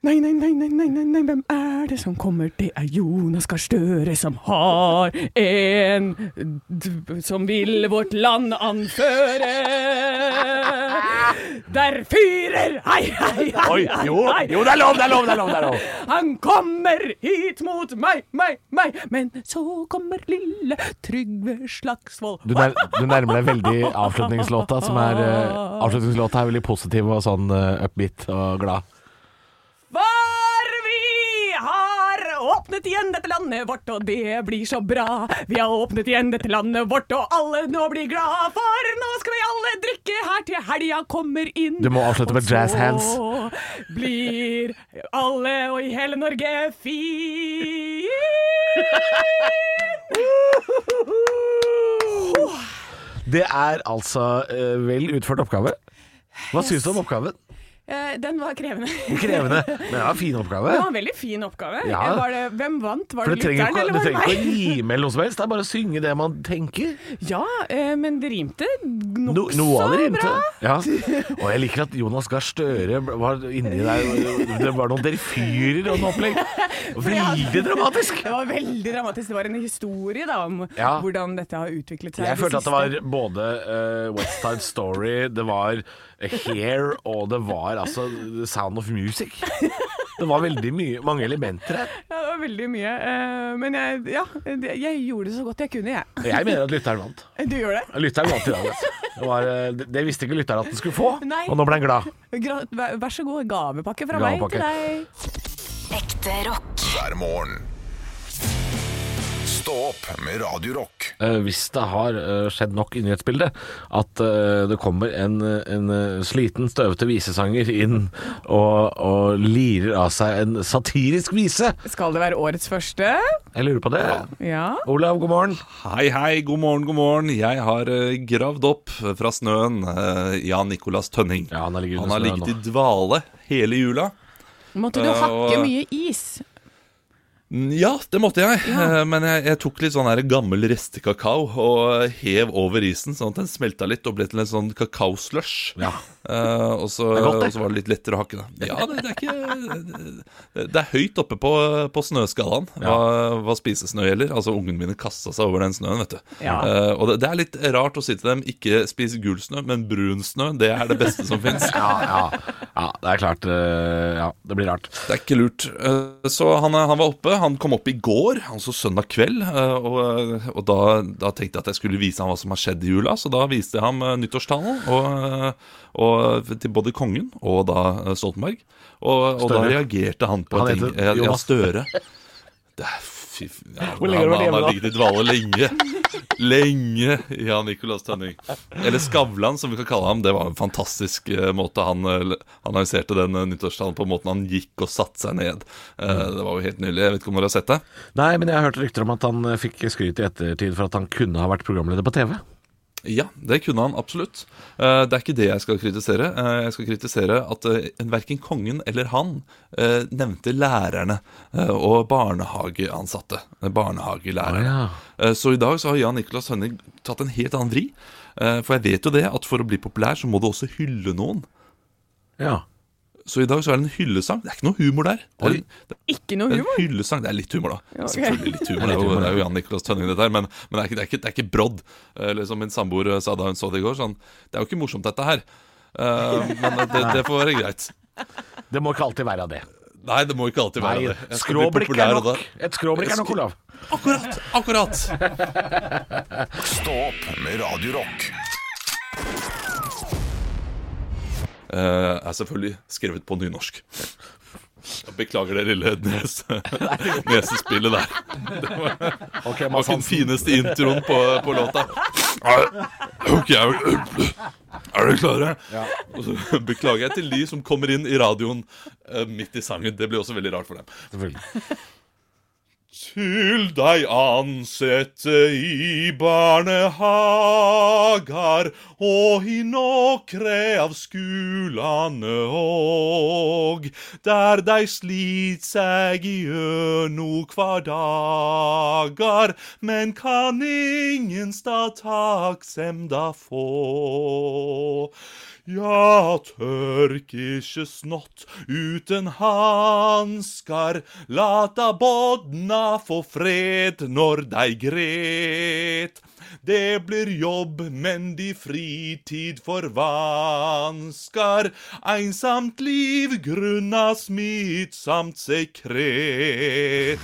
[SPEAKER 4] Nei, nei, nei, nei, nei, nei, nei, hvem er det som kommer? Det er Jonas Gahr Støre som har en d- som vil vårt land anføre. Der fyrer Hei, hei, hei! hei, hei.
[SPEAKER 3] det er lov, det er lov! det er lov, det er lov.
[SPEAKER 4] Han kommer hit mot meg, meg, meg. Men så kommer lille Trygve Slagsvold.
[SPEAKER 3] Du, nær, du nærmer deg veldig avslutningslåta, som er eh, Avslutningslåta er veldig positiv og sånn eh, upbeat og glad.
[SPEAKER 4] For vi har åpnet igjen dette landet vårt, og det blir så bra. Vi har åpnet igjen dette landet vårt, og alle nå blir glad. For nå skal vi alle drikke her til helga kommer inn.
[SPEAKER 3] Du må avslutte med jazz hands.
[SPEAKER 4] Og så blir alle og i hele
[SPEAKER 3] *laughs*
[SPEAKER 4] Norge fin.
[SPEAKER 3] Det er altså eh, vel utført oppgave. Hva syns du om oppgaven?
[SPEAKER 4] Eh, Den var krevende.
[SPEAKER 3] Krevende, men det var en fin oppgave.
[SPEAKER 4] Det var en veldig fin oppgave.
[SPEAKER 3] Ja.
[SPEAKER 4] Var det, hvem vant? Var
[SPEAKER 3] For
[SPEAKER 4] det
[SPEAKER 3] du trenger,
[SPEAKER 4] lytteren,
[SPEAKER 3] ikke,
[SPEAKER 4] eller
[SPEAKER 3] du
[SPEAKER 4] var det
[SPEAKER 3] trenger ikke
[SPEAKER 4] meg?
[SPEAKER 3] å gi med noe som helst, det er bare å synge det man tenker.
[SPEAKER 4] Ja, eh, men det rimte
[SPEAKER 3] No,
[SPEAKER 4] nokså
[SPEAKER 3] noe av det rimte.
[SPEAKER 4] bra.
[SPEAKER 3] Ja. Og jeg liker at Jonas Gahr Støre var inni der, det var noen delfyrer og noe opplegg. Veldig dramatisk.
[SPEAKER 4] Det var veldig dramatisk. Det var en historie da, om
[SPEAKER 3] Ja.
[SPEAKER 4] hvordan dette har utviklet seg.
[SPEAKER 3] Jeg
[SPEAKER 4] det
[SPEAKER 3] følte at det
[SPEAKER 4] siste.
[SPEAKER 3] var både eh, West Side Story, det var Hair, og det var altså The Sound of Music. Det var veldig mye, mange elementer her.
[SPEAKER 4] Ja, det var veldig mye. eh, Men jeg, ja, det- jeg gjorde det så godt jeg kunne, jeg.
[SPEAKER 3] Jeg mener at lytteren vant.
[SPEAKER 4] Du gjør det?
[SPEAKER 3] Lytteren vant i dag. Altså. Det, var, eh, det- det visste ikke lytteren at den skulle få,
[SPEAKER 4] Nei.
[SPEAKER 3] og nå ble han glad.
[SPEAKER 4] Gra vær vær så god, gavepakke fra
[SPEAKER 3] Gavepakke.
[SPEAKER 4] meg til deg.
[SPEAKER 1] Ekte rock.
[SPEAKER 2] hver morgen. Stå opp med Radio Rock.
[SPEAKER 3] Eh, hvis det har eh, skjedd nok i nyhetsbildet at eh, det kommer en, eh, en eh, sliten, støvete visesanger inn og, og lirer av seg en satirisk vise.
[SPEAKER 4] Skal det være årets første?
[SPEAKER 3] Jeg lurer på det.
[SPEAKER 4] Ja.
[SPEAKER 3] Olav, god morgen.
[SPEAKER 7] Hei, hei, god morgen, god morgen. Jeg har eh, gravd opp fra snøen eh, Jan Nicolas Tønning.
[SPEAKER 3] Ja, han har ligget
[SPEAKER 7] han
[SPEAKER 3] under
[SPEAKER 7] har
[SPEAKER 3] snøen
[SPEAKER 7] ligget i dvale hele jula.
[SPEAKER 4] Måtte du
[SPEAKER 7] Eh,
[SPEAKER 4] hakke
[SPEAKER 7] og-
[SPEAKER 4] mye is?
[SPEAKER 7] Mm, Ja, det måtte jeg. Eh, Men jeg, jeg tok litt sånn her gammel restekakao og hev over isen, sånn at den smelta litt og ble til en sånn kakaoslush.
[SPEAKER 3] Ja.
[SPEAKER 7] Eh, og, så,
[SPEAKER 3] Det er godt, det.
[SPEAKER 7] og så var det litt lettere å hakke, da. Ja, det, det er ikke Det er høyt oppe på, på snøskalaen hva, hva spisesnø gjelder. Altså, ungene mine kasta seg over den snøen, vet du.
[SPEAKER 4] Ja.
[SPEAKER 7] Eh, og det, det er litt rart å si til dem ikke spis gul snø, men brun snø. Det er det beste som
[SPEAKER 3] *laughs*
[SPEAKER 7] fins.
[SPEAKER 3] Ja, ja, ja, det er klart. eh, ja, det blir rart.
[SPEAKER 7] Det er ikke lurt. Eh, Så han, eh, han var oppe. Han kom opp i går, altså søndag kveld. eh, Og, eh, og da, da tenkte jeg at jeg skulle vise ham hva som har skjedd i jula, så da viste jeg ham eh, nyttårstalen og, eh, og, eh, til både kongen og da eh, Stoltenberg. Og, og da
[SPEAKER 3] Støre.
[SPEAKER 7] reagerte han på
[SPEAKER 3] Han
[SPEAKER 7] en ting.
[SPEAKER 3] heter
[SPEAKER 7] Eh, Ja, ja,
[SPEAKER 3] Jonas. *laughs*
[SPEAKER 7] Støre. Det er fy f- ja,
[SPEAKER 3] Hvor lenge har
[SPEAKER 7] han,
[SPEAKER 3] du vært
[SPEAKER 7] han
[SPEAKER 3] hjemme
[SPEAKER 7] har
[SPEAKER 3] da?
[SPEAKER 7] ligget i dvale lenge. Lenge, ja, Nicolas Tønning. Eller Skavlan, som vi kan kalle ham. Det var en fantastisk eh, måte han eh, han annonserte den eh, nyttårstalen på. Måten han gikk og satte seg ned. Eh,
[SPEAKER 3] Mm.
[SPEAKER 7] det var jo helt nydelig. Jeg vet ikke om dere har sett det?
[SPEAKER 3] Nei, men jeg har hørt rykter om at han eh, fikk skryt i ettertid for at han kunne ha vært programleder på TV.
[SPEAKER 7] Ja, det kunne han absolutt. Eh, det er ikke det jeg skal kritisere. Eh, jeg skal kritisere at uh, verken kongen eller han eh, nevnte lærerne eh, og barnehageansatte. Eh, barnehagelærerne.
[SPEAKER 3] Å,
[SPEAKER 7] Eh, så i dag så har Jan Niklas Hønning tatt en helt annen vri. Eh, for jeg vet jo det at for å bli populær så må du også hylle noen.
[SPEAKER 3] Ja.
[SPEAKER 7] Så i dag så er det en hyllesang. Det er ikke noe humor der. Det er, en-
[SPEAKER 4] Ikke noe
[SPEAKER 7] Det
[SPEAKER 3] *laughs*
[SPEAKER 7] er
[SPEAKER 4] humor?
[SPEAKER 7] En hyllesang. Det er litt humor, da.
[SPEAKER 4] Ja, ok.
[SPEAKER 7] Selvfølgelig litt humor. Det er jo, det er jo Jan Nicolas Tønning, dette her. Men, men det, er ikke, det, er ikke, det er ikke brodd. Eh, Eller som min samboer sa da hun så det i går, sånn Det er jo ikke morsomt, dette her. Eh, men det, det får være greit.
[SPEAKER 3] Det må ikke alltid være det.
[SPEAKER 7] Nei, det må ikke alltid være
[SPEAKER 3] Nei,
[SPEAKER 7] det. Jeg skal bli
[SPEAKER 3] skråblikk
[SPEAKER 7] populær,
[SPEAKER 3] er
[SPEAKER 7] og da-
[SPEAKER 3] nok. Et skråblikk er nok, Olav.
[SPEAKER 7] Akkurat! Akkurat!
[SPEAKER 2] Stå opp med Radio Rock.
[SPEAKER 7] Eh, er selvfølgelig skrevet på nynorsk. Jeg beklager det lille nes, *laughs* nesespillet der.
[SPEAKER 3] Ok, Mads
[SPEAKER 7] Det var ikke den
[SPEAKER 3] Hansen.
[SPEAKER 7] fineste introen på, på låta. Er- Ok, er, er dere klare? Og så *laughs* beklager jeg til de som kommer inn i radioen eh, midt i sangen. Det blir også veldig rart for dem.
[SPEAKER 3] Selvfølgelig.
[SPEAKER 7] Til deg ansette i barnehagar og i nokre av skulane òg, der dei slit seg igjennom kvar dagar, men kan ingenstad takksemda få. Ja, tørk ikkje snott uten hanskar, lata bodna få fred når dei gret. Det blir jobb, men de fritid forvanskar, einsamt liv grunna smittsamt sekret.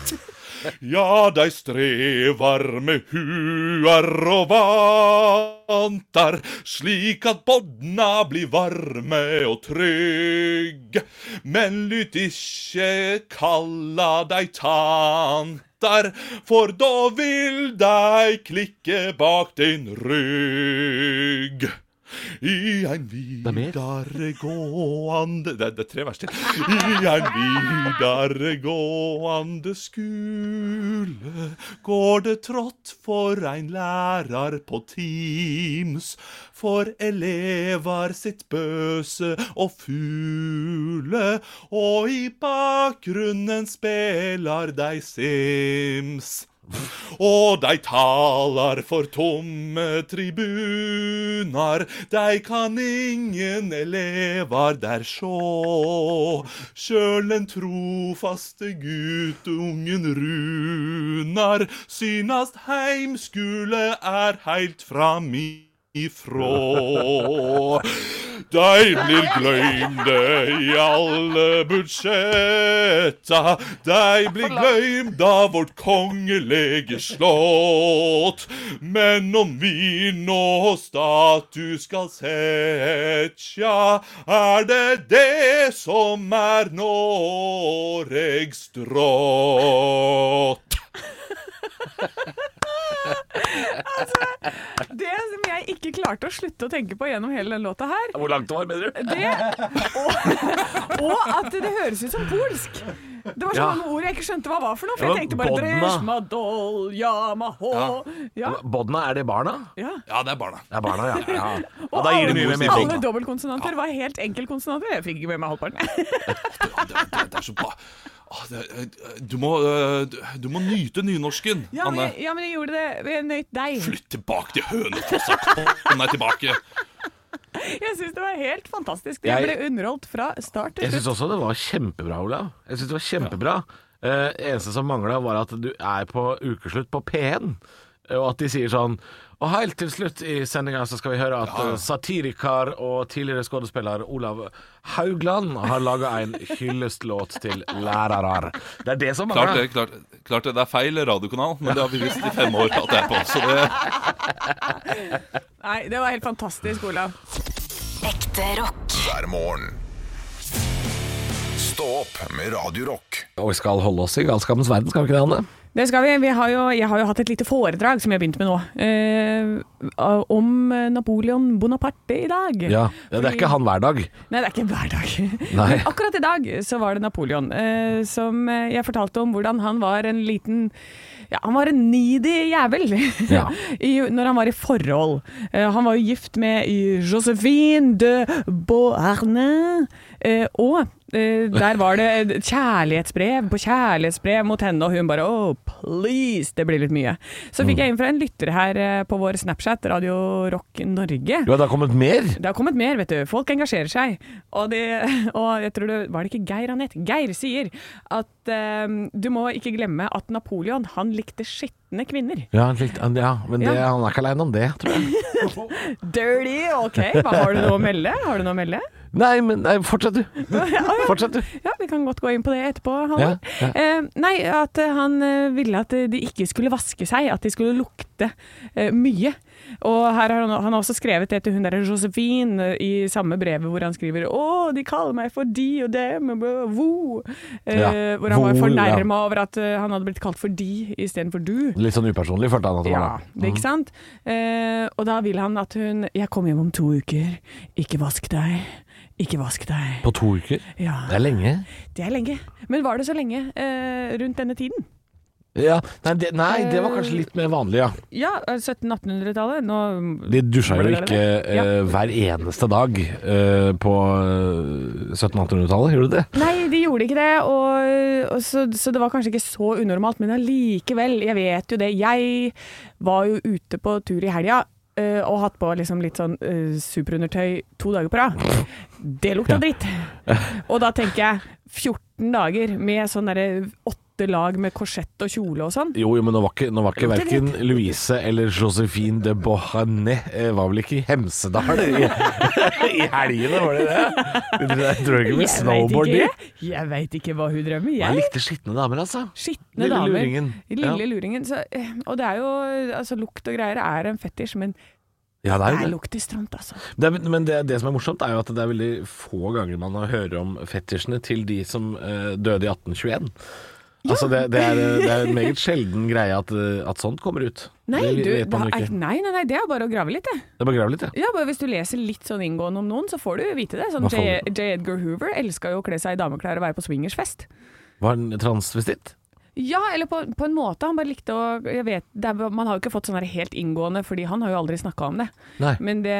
[SPEAKER 7] Ja, dei strevar med huar og vantar, slik at bodna blir varme og trygge. Men lytt ikkje kalla dei tantar, for da vil dei klikke bak din rygg. I ein
[SPEAKER 3] er mer.
[SPEAKER 7] videregående det, det er tre vers til. I ein videregående skule går det trått for ein lærar på Teams. For elevar sitt bøse og fugle, og i bakgrunnen spelar dei Sims. Og dei talar for tomme tribunar, dei kan ingen elevar der sjå. Sjøl den trofaste gutungen Runar synast heimskule er heilt fram i ifrå. Dein blir gløymde i alle budsjetta. Dein blir gløymd av vårt kongelege slott. Men om vi nå status skal setja, er det det som er Noregs drott.
[SPEAKER 4] Det som jeg ikke klarte å slutte å tenke på gjennom hele den låta her,
[SPEAKER 3] Hvor langt det var, mener du?
[SPEAKER 4] det og, og at det høres ut som polsk. Det var så
[SPEAKER 3] Ja.
[SPEAKER 4] mange ord jeg ikke skjønte hva var for noe. For
[SPEAKER 3] Ja,
[SPEAKER 4] jeg tenkte bare
[SPEAKER 3] Bodna.
[SPEAKER 4] Dresjmadol, Yamaho ja.
[SPEAKER 3] Bodna, er det barna?
[SPEAKER 4] ja.
[SPEAKER 7] Ja, det er barna.
[SPEAKER 3] Det er barna,
[SPEAKER 4] *laughs*
[SPEAKER 3] ja. ja.
[SPEAKER 4] Og
[SPEAKER 3] da gir det
[SPEAKER 4] alle,
[SPEAKER 3] mye mer mening.
[SPEAKER 4] alle dobbeltkonsonanter var helt enkeltkonsonanter. Jeg fikk ikke med meg halvparten.
[SPEAKER 7] det, det, det er så bra. Åh, det, du, må, øh, du, du må nyte nynorsken,
[SPEAKER 4] *laughs* Ja, men
[SPEAKER 7] Anne.
[SPEAKER 4] jeg, ja, men jeg gjorde det. Jeg nøyt deg.
[SPEAKER 7] Flytt tilbake til Hønefossa! Kom deg tilbake!
[SPEAKER 4] Jeg syns det var helt fantastisk. Jeg
[SPEAKER 3] Jeg-
[SPEAKER 4] ble underholdt fra start til
[SPEAKER 3] Jeg syns
[SPEAKER 4] slutt.
[SPEAKER 3] også det var kjempebra, Olav. Jeg synes det var kjempebra. Eh, eneste som mangla, var at du er på ukeslutt på P1, eh, og at de sier sånn Og helt til slutt i sendinga så skal vi høre at eh, satiriker og tidligere skuespiller Olav Haugland har laga en hyllestlåt til lærarar. Det er det som
[SPEAKER 7] Klart det,
[SPEAKER 3] mangler.
[SPEAKER 7] klart, klart det. Det er feil radiokanal, men det har vi visst i fem år at det er på. Så det,
[SPEAKER 4] Nei, det var helt fantastisk, Olav.
[SPEAKER 1] Ekte rock.
[SPEAKER 2] hver morgen. Stå opp med Radio Rock.
[SPEAKER 3] Og vi skal holde oss i galskapens verden, skal vi ikke det, Anne?
[SPEAKER 4] Det skal vi. vi har jo, jeg har jo hatt et lite foredrag som jeg har begynt med nå, eh, om Napoleon Bonaparte i dag.
[SPEAKER 3] Ja. Det er ikke han hver dag.
[SPEAKER 4] Nei, det er ikke hver dag.
[SPEAKER 3] *laughs* Nei.
[SPEAKER 4] Men akkurat i dag så var det Napoleon, eh, som eh, jeg fortalte om hvordan han var en liten ja, Han var en needy jævel
[SPEAKER 3] Ja.
[SPEAKER 4] *laughs* i, når han var i forhold. Eh, han var jo gift med Josephine de Beauharnais, eh, og eh, der var det et kjærlighetsbrev på kjærlighetsbrev mot henne, og hun bare oh, please, det blir litt mye. Så
[SPEAKER 3] Mm.
[SPEAKER 4] fikk jeg inn fra en lytter her eh, på vår Snapchat, Radio Rock Norge.
[SPEAKER 3] Du har da kommet mer?
[SPEAKER 4] Det har kommet mer, vet du. Folk engasjerer seg. Og, det, og jeg tror det var det ikke Geir Anette? Geir sier at eh, du må ikke glemme at Napoleon, han likte skitne kvinner.
[SPEAKER 3] Ja, litt, ja men det,
[SPEAKER 4] Ja.
[SPEAKER 3] han er ikke aleine om det, tror jeg.
[SPEAKER 4] Dirty, OK. Hva, har du noe å melde? Har du noe å melde?
[SPEAKER 3] Nei, men nei, fortsett, du. Fortsett, du.
[SPEAKER 4] Ja, vi kan godt gå inn på det etterpå, Halvor.
[SPEAKER 3] Ja, ja.
[SPEAKER 4] Eh, nei, at eh, han eh, ville at eh, de ikke skulle vaske seg, at de skulle lukte eh, mye. Og her har han, han har også skrevet det til hun derre Josephine eh, i samme brevet hvor han skriver Å, de kaller meg for de og dem, og bø, vo. Eh,
[SPEAKER 3] Ja,
[SPEAKER 4] Hvor han
[SPEAKER 3] vo,
[SPEAKER 4] var
[SPEAKER 3] ja.
[SPEAKER 4] fornærma over at eh, han hadde blitt kalt for de istedenfor du.
[SPEAKER 3] Litt sånn upersonlig følte han at det Mhm.
[SPEAKER 4] Ja,
[SPEAKER 3] var. da.
[SPEAKER 4] det, ikke sant? Eh, og da vil han at hun Jeg kommer hjem om to uker. Ikke vask deg. Ikke vask deg.
[SPEAKER 3] På to uker?
[SPEAKER 4] Ja.
[SPEAKER 3] Det er lenge.
[SPEAKER 4] Det er lenge. Men var det så lenge eh, rundt denne tiden?
[SPEAKER 3] Ja, nei, det, nei, det var kanskje litt mer vanlig, ja.
[SPEAKER 4] Ja, eh, 1700-1800-tallet. Nå mm,
[SPEAKER 3] De dusja jo ikke eh,
[SPEAKER 4] Ja.
[SPEAKER 3] hver eneste dag eh, på eh, 1700-1800-tallet, gjorde de det?
[SPEAKER 4] Nei, de gjorde ikke det, og, og så, så det var kanskje ikke så unormalt. Men allikevel, jeg vet jo det. Jeg var jo ute på tur i helga eh, og hatt på liksom litt sånn eh, superundertøy to dager på rad. Det lukta dritt. Og da tenker jeg 14 dager med sånn derre åtte lag med korsett og kjole og sånn.
[SPEAKER 3] Jo, jo, men nå var ikke, nå var ikke verken Louise eller Josephine de Beauharnais eh, var vel ikke i Hemsedal i, *laughs* i helgene, var det det? Jeg tror ikke med
[SPEAKER 4] Jeg vet
[SPEAKER 3] snowboard de.
[SPEAKER 4] ikke, jeg veit ikke hva hun drømmer,
[SPEAKER 3] Jeg
[SPEAKER 4] jeg.
[SPEAKER 3] likte skitne damer, altså.
[SPEAKER 4] Skitne
[SPEAKER 3] Lille
[SPEAKER 4] damer.
[SPEAKER 3] luringen.
[SPEAKER 4] Lille
[SPEAKER 3] Ja.
[SPEAKER 4] luringen. Så, eh, og det er jo altså, Lukt og greier er en fetisj, men
[SPEAKER 3] Ja, det er
[SPEAKER 4] det
[SPEAKER 3] jo det.
[SPEAKER 4] lukter stramt, altså.
[SPEAKER 3] Det er, men det, det som er morsomt, er jo at det er veldig få ganger man hører om fetisjene til de som eh, døde i 1821. Altså det, det, er, eh, det er en meget sjelden greie at, eh, at sånt kommer ut.
[SPEAKER 4] Nei,
[SPEAKER 3] det
[SPEAKER 4] du,
[SPEAKER 3] vet man
[SPEAKER 4] da-
[SPEAKER 3] jo
[SPEAKER 4] er-
[SPEAKER 3] ikke.
[SPEAKER 4] nei, nei, nei, det er bare å grave litt, det.
[SPEAKER 3] Det er bare å grave litt, ja.
[SPEAKER 4] Ja, bare hvis du leser litt sånn inngående om noen, så får du vite det. Sånn
[SPEAKER 3] Hva
[SPEAKER 4] J.
[SPEAKER 3] får du?
[SPEAKER 4] J. Edgar Hoover elska jo å kle seg i dameklær og være på swingersfest.
[SPEAKER 3] Var han transvestitt?
[SPEAKER 4] Ja, eller på, på en måte. Han bare likte å jeg vet, det er, Man har jo ikke fått sånn her helt inngående, fordi han har jo aldri snakka om det.
[SPEAKER 3] Nei. Men,
[SPEAKER 4] Men det,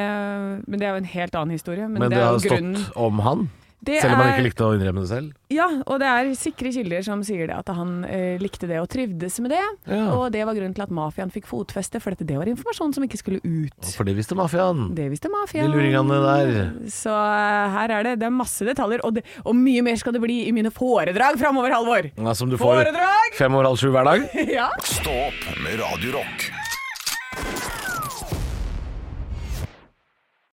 [SPEAKER 4] men det er jo en helt annen historie. Men,
[SPEAKER 3] det, har
[SPEAKER 4] jo grunnen.
[SPEAKER 3] stått om han?
[SPEAKER 4] Det
[SPEAKER 3] selv om han
[SPEAKER 4] er-
[SPEAKER 3] ikke likte å innrømme det selv?
[SPEAKER 4] Ja, og det er sikre kilder som sier det at han eh, likte det og trivdes med det.
[SPEAKER 3] Ja.
[SPEAKER 4] Og det var grunnen til at mafiaen fikk fotfeste, for dette, det var informasjon som ikke skulle ut.
[SPEAKER 3] For det visste mafiaen.
[SPEAKER 4] Det visste mafiaen.
[SPEAKER 3] De luringene der.
[SPEAKER 4] Så eh, her er det, det er masse detaljer, og, det, og mye mer skal det bli i mine foredrag framover, Halvor. *laughs*
[SPEAKER 3] Ja, som du får
[SPEAKER 4] Foredrag!
[SPEAKER 3] fem over halv sju hver dag.
[SPEAKER 4] ja.
[SPEAKER 2] Stå opp med Radio Rock.